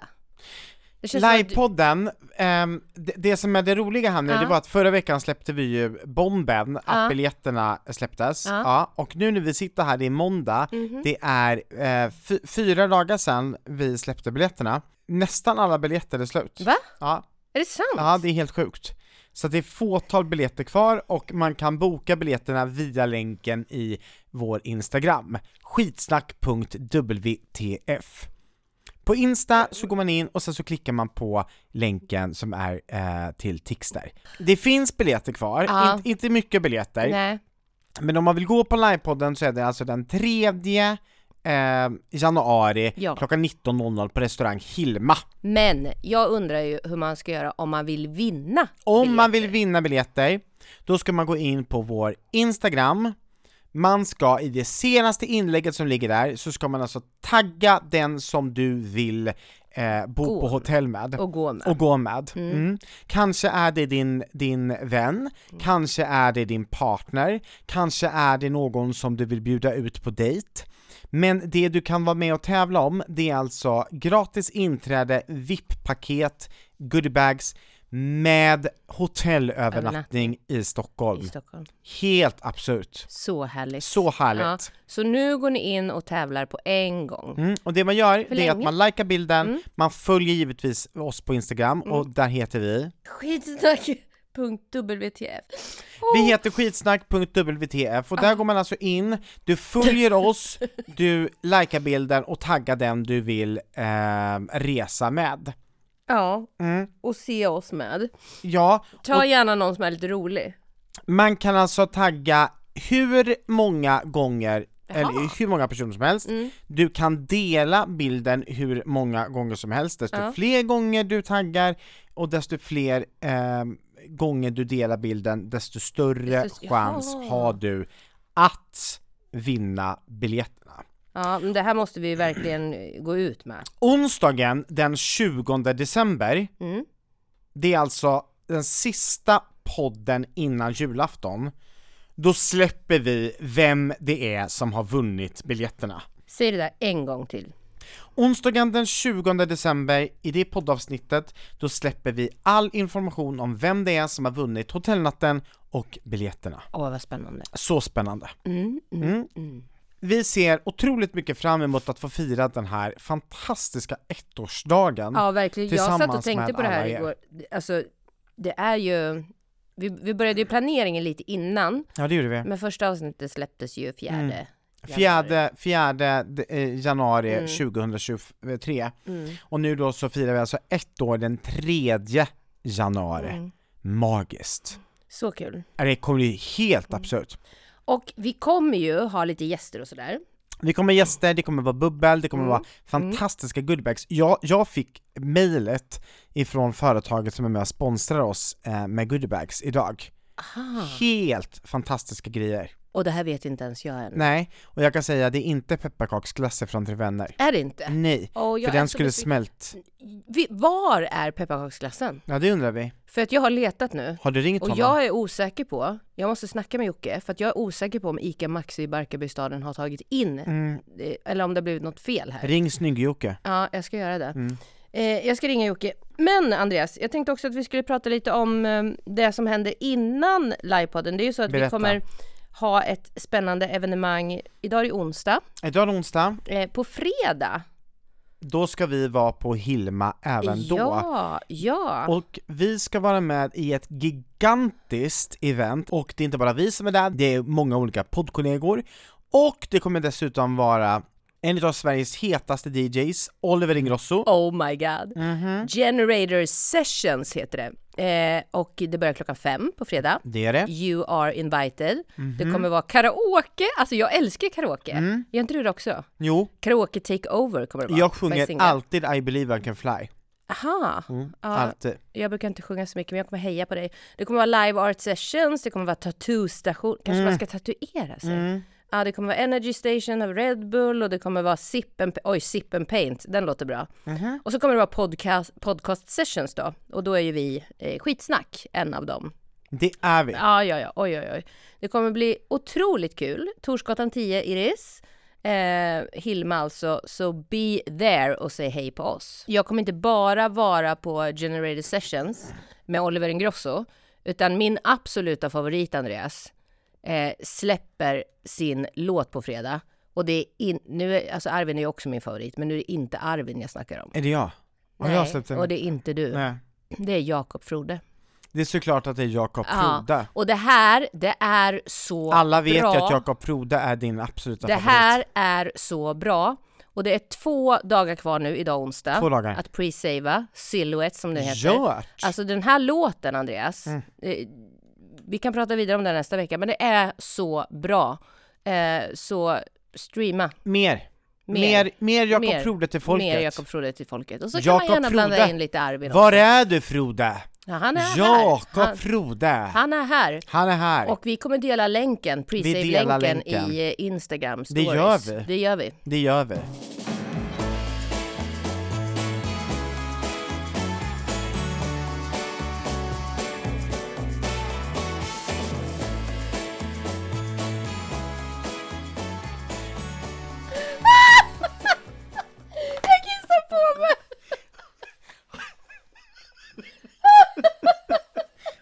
[SPEAKER 2] Det känns som att-
[SPEAKER 1] Livepodden, ehm, det, det som är det roliga här nu, det var att förra veckan släppte vi ju bomben, att biljetterna släpptes. Ja. och nu när vi sitter här, det är måndag,
[SPEAKER 2] Mhm.
[SPEAKER 1] det är eh, fy- fyra dagar sedan vi släppte biljetterna. Nästan alla biljetter är slut.
[SPEAKER 2] Va?
[SPEAKER 1] Ja,
[SPEAKER 2] Är det sant?
[SPEAKER 1] ja, det är helt sjukt. Så att det är fåtal biljetter kvar och man kan boka biljetterna via länken i vår Instagram, skitsnack.wtf. På Insta så går man in och sen så klickar man på länken som är eh, till Tixter. Det finns biljetter kvar,
[SPEAKER 2] Ja.
[SPEAKER 1] inte- inte mycket biljetter,
[SPEAKER 2] Nej.
[SPEAKER 1] men om man vill gå på livepodden så är det alltså den 3 eh, januari
[SPEAKER 2] Ja.
[SPEAKER 1] klockan 19.00 på restaurang Hilma.
[SPEAKER 2] Men jag undrar ju hur man ska göra om man vill vinna.
[SPEAKER 1] Om man vill vinna biljetter, då ska man gå in på vår Instagram, man ska i det senaste inlägget som ligger där, så ska man alltså tagga den som du vill eh, bo
[SPEAKER 2] Gå
[SPEAKER 1] på hotell med.
[SPEAKER 2] Och gå med.
[SPEAKER 1] Och gå med. Mm. Kanske är det din, din vän,
[SPEAKER 2] Mm.
[SPEAKER 1] kanske är det din partner, kanske är det någon som du vill bjuda ut på dejt. Men det du kan vara med och tävla om, det är alltså gratis inträde, VIP-paket, goodiebags med hotellövernattning i Stockholm.
[SPEAKER 2] i Stockholm.
[SPEAKER 1] Helt absurt.
[SPEAKER 2] Så härligt.
[SPEAKER 1] Mm. Så
[SPEAKER 2] Ja,
[SPEAKER 1] härligt.
[SPEAKER 2] så nu går ni in och tävlar på en gång.
[SPEAKER 1] Mm, och det man gör, det är att
[SPEAKER 2] länge? Mm.
[SPEAKER 1] man likar bilden, man följer givetvis oss på Instagram och där heter vi
[SPEAKER 2] <laughs> Skitsnack.wtf.
[SPEAKER 1] Vi heter skitsnack.wtf och där går man alltså in, du följer oss, du likar bilden och taggar den du vill ehm, resa med.
[SPEAKER 2] Ja,
[SPEAKER 1] Mm.
[SPEAKER 2] och se oss med.
[SPEAKER 1] Ja,
[SPEAKER 2] Ta gärna någon som är lite rolig.
[SPEAKER 1] Man kan alltså tagga hur många gånger, eller hur många personer som helst, du kan dela bilden hur många gånger som helst, desto fler gånger du taggar och desto fler ehm, gånger du delar bilden, desto större
[SPEAKER 2] Desto-
[SPEAKER 1] chans
[SPEAKER 2] Jaha.
[SPEAKER 1] har du att vinna biljetterna.
[SPEAKER 2] Ja, men det här måste vi verkligen eh, gå ut med.
[SPEAKER 1] Mm. Onsdagen den 20 december Det är alltså den sista podden innan julafton. Då släpper vi vem det är som har vunnit biljetterna.
[SPEAKER 2] Säg det där en gång till.
[SPEAKER 1] Onsdagen den 20 december, i det poddavsnittet, då släpper vi all information om vem det är som har vunnit hotellnatten och biljetterna.
[SPEAKER 2] Åh, vad spännande.
[SPEAKER 1] Så spännande! Mm. Vi ser otroligt mycket fram emot att få fira den här fantastiska ettårsdagen.
[SPEAKER 2] Ja, verkligen. Jag satt och
[SPEAKER 1] tillsammans
[SPEAKER 2] tänkte
[SPEAKER 1] med
[SPEAKER 2] på det här
[SPEAKER 1] alla er.
[SPEAKER 2] igår. Alltså, det är ju... Vi, vi började ju planeringen lite innan,
[SPEAKER 1] Ja, det gjorde vi.
[SPEAKER 2] men första avsnittet släpptes ju fjärde.
[SPEAKER 1] Mm. Fjärde, fjärde d- eh, januari
[SPEAKER 2] Mm.
[SPEAKER 1] 2023. Och nu då så firar vi alltså ett år den tredje januari.
[SPEAKER 2] Mm.
[SPEAKER 1] Magiskt.
[SPEAKER 2] Så kul.
[SPEAKER 1] Ja, Det kommer bli helt
[SPEAKER 2] Mm.
[SPEAKER 1] absurt.
[SPEAKER 2] Och vi kommer ju ha lite gäster och sådär.
[SPEAKER 1] Det kommer gäster, det kommer vara bubbel, det
[SPEAKER 2] Mm.
[SPEAKER 1] kommer vara fantastiska goodiebags. Jag, jag fick mejlet ifrån företaget som är med och sponsrar oss eh, med goodiebags idag. Helt fantastiska grejer.
[SPEAKER 2] Och det här vet inte ens jag än.
[SPEAKER 1] Nej, och jag kan säga det är inte pepparkaksglasser från Tre Vänner.
[SPEAKER 2] Är det inte?
[SPEAKER 1] Nej,
[SPEAKER 2] Åh, jag
[SPEAKER 1] för
[SPEAKER 2] är
[SPEAKER 1] den
[SPEAKER 2] så
[SPEAKER 1] skulle
[SPEAKER 2] besviken.
[SPEAKER 1] smält.
[SPEAKER 2] Vi, var är pepparkaksglassen?
[SPEAKER 1] Ja det undrar vi.
[SPEAKER 2] För att jag har letat nu.
[SPEAKER 1] Har du ringt
[SPEAKER 2] Och
[SPEAKER 1] honom?
[SPEAKER 2] jag är osäker på, jag måste snacka med Jocke, för att jag är osäker på om ICA Maxi i Barkarbystaden har tagit in, eh, eller om det har blivit något fel här.
[SPEAKER 1] Ring snygg-Jocke.
[SPEAKER 2] Ja, jag ska göra det. Eh, jag ska ringa Jocke. Men Andreas, jag tänkte också att vi skulle prata lite om eh, det som händer innan livepodden. Det är ju så att vi
[SPEAKER 1] Berätta.
[SPEAKER 2] kommer ha ett spännande evenemang. Idag är det onsdag.
[SPEAKER 1] Idag är det onsdag,
[SPEAKER 2] Eh, på fredag.
[SPEAKER 1] då ska vi vara på Hilma även då.
[SPEAKER 2] Ja, ja.
[SPEAKER 1] Och vi ska vara med i ett gigantiskt event och det är inte bara vi som är där, det är många olika poddkollegor och det kommer dessutom vara en av Sveriges hetaste DJs, Oliver Ingrosso.
[SPEAKER 2] Oh my god.
[SPEAKER 1] Mm-hmm.
[SPEAKER 2] Generator Sessions heter det. Eh, och det börjar klockan fem på fredag.
[SPEAKER 1] Det är det.
[SPEAKER 2] You are invited.
[SPEAKER 1] Mm-hmm.
[SPEAKER 2] Det kommer vara karaoke. Alltså jag älskar karaoke. Gör inte du det också?
[SPEAKER 1] Jo,
[SPEAKER 2] Karaoke takeover kommer det
[SPEAKER 1] Mm.
[SPEAKER 2] vara.
[SPEAKER 1] jag
[SPEAKER 2] By
[SPEAKER 1] sjunger
[SPEAKER 2] Singer.
[SPEAKER 1] alltid I believe I can fly.
[SPEAKER 2] Aha.
[SPEAKER 1] Mm,
[SPEAKER 2] Ja,
[SPEAKER 1] Alltid.
[SPEAKER 2] jag brukar inte sjunga så mycket men jag kommer heja på dig. Det kommer vara live art sessions, det kommer vara tattoostation, kanske man ska tatuera sig. Ja, det kommer vara Energy Station av Red Bull och det kommer vara Sip and, oj, Sip and Paint, den låter bra. Och så kommer det vara podcast, podcast sessions då och då är ju vi eh, skitsnack, en av dem.
[SPEAKER 1] Det är vi.
[SPEAKER 2] Ja, ja, ja, oj, oj, oj. Det kommer bli otroligt kul. Torsgatan 10, Iris. Eh, Hilma alltså, so be there och säg hej på oss. Jag kommer inte bara vara på Generated Sessions med Oliver Ingrosso, utan min absoluta favorit Andreas eh, släpper sin låt på fredag. Och det är in, nu är, alltså Arvin är ju också min favorit, men nu är det inte Arvin jag snackar om.
[SPEAKER 1] Är det jag? Har jag
[SPEAKER 2] Nej,
[SPEAKER 1] släppt en?
[SPEAKER 2] och det är inte du.
[SPEAKER 1] Nej.
[SPEAKER 2] Det är Jakob Frode.
[SPEAKER 1] Det är såklart att det är Jakob
[SPEAKER 2] Ja,
[SPEAKER 1] Frode.
[SPEAKER 2] och det här, det är så
[SPEAKER 1] Alla vet
[SPEAKER 2] bra.
[SPEAKER 1] ju att Jakob Frode är din absoluta
[SPEAKER 2] Det
[SPEAKER 1] favorit.
[SPEAKER 2] här är så bra. Och det är två dagar kvar nu, idag onsdag.
[SPEAKER 1] Två dagar.
[SPEAKER 2] Att pre-savea, Silhouette som den heter.
[SPEAKER 1] Gört!
[SPEAKER 2] Alltså den här låten, Andreas.
[SPEAKER 1] Mm.
[SPEAKER 2] Eh, vi kan prata vidare om den nästa vecka, men det är så bra. Eh, så streama.
[SPEAKER 1] Mer!
[SPEAKER 2] Mer.
[SPEAKER 1] Mer, mer, Jakob
[SPEAKER 2] Mer.
[SPEAKER 1] Frode till folket.
[SPEAKER 2] Mer Jakob Frode till folket. Och så kan
[SPEAKER 1] Jakob
[SPEAKER 2] man gärna blanda
[SPEAKER 1] Frode.
[SPEAKER 2] in lite Arvin
[SPEAKER 1] Var
[SPEAKER 2] också.
[SPEAKER 1] är du Frode?
[SPEAKER 2] Ja, han är här.
[SPEAKER 1] Jakob
[SPEAKER 2] Han,
[SPEAKER 1] Frode!
[SPEAKER 2] han är här.
[SPEAKER 1] Han är här.
[SPEAKER 2] Och vi kommer dela länken,
[SPEAKER 1] Vi delar
[SPEAKER 2] pre-save-länken
[SPEAKER 1] länken.
[SPEAKER 2] i eh, Instagram
[SPEAKER 1] Det
[SPEAKER 2] stories.
[SPEAKER 1] gör vi.
[SPEAKER 2] Det gör vi.
[SPEAKER 1] Det gör vi.
[SPEAKER 2] Jag kissar på mig!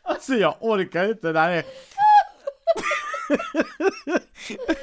[SPEAKER 1] Alltså jag orkar inte, det här är...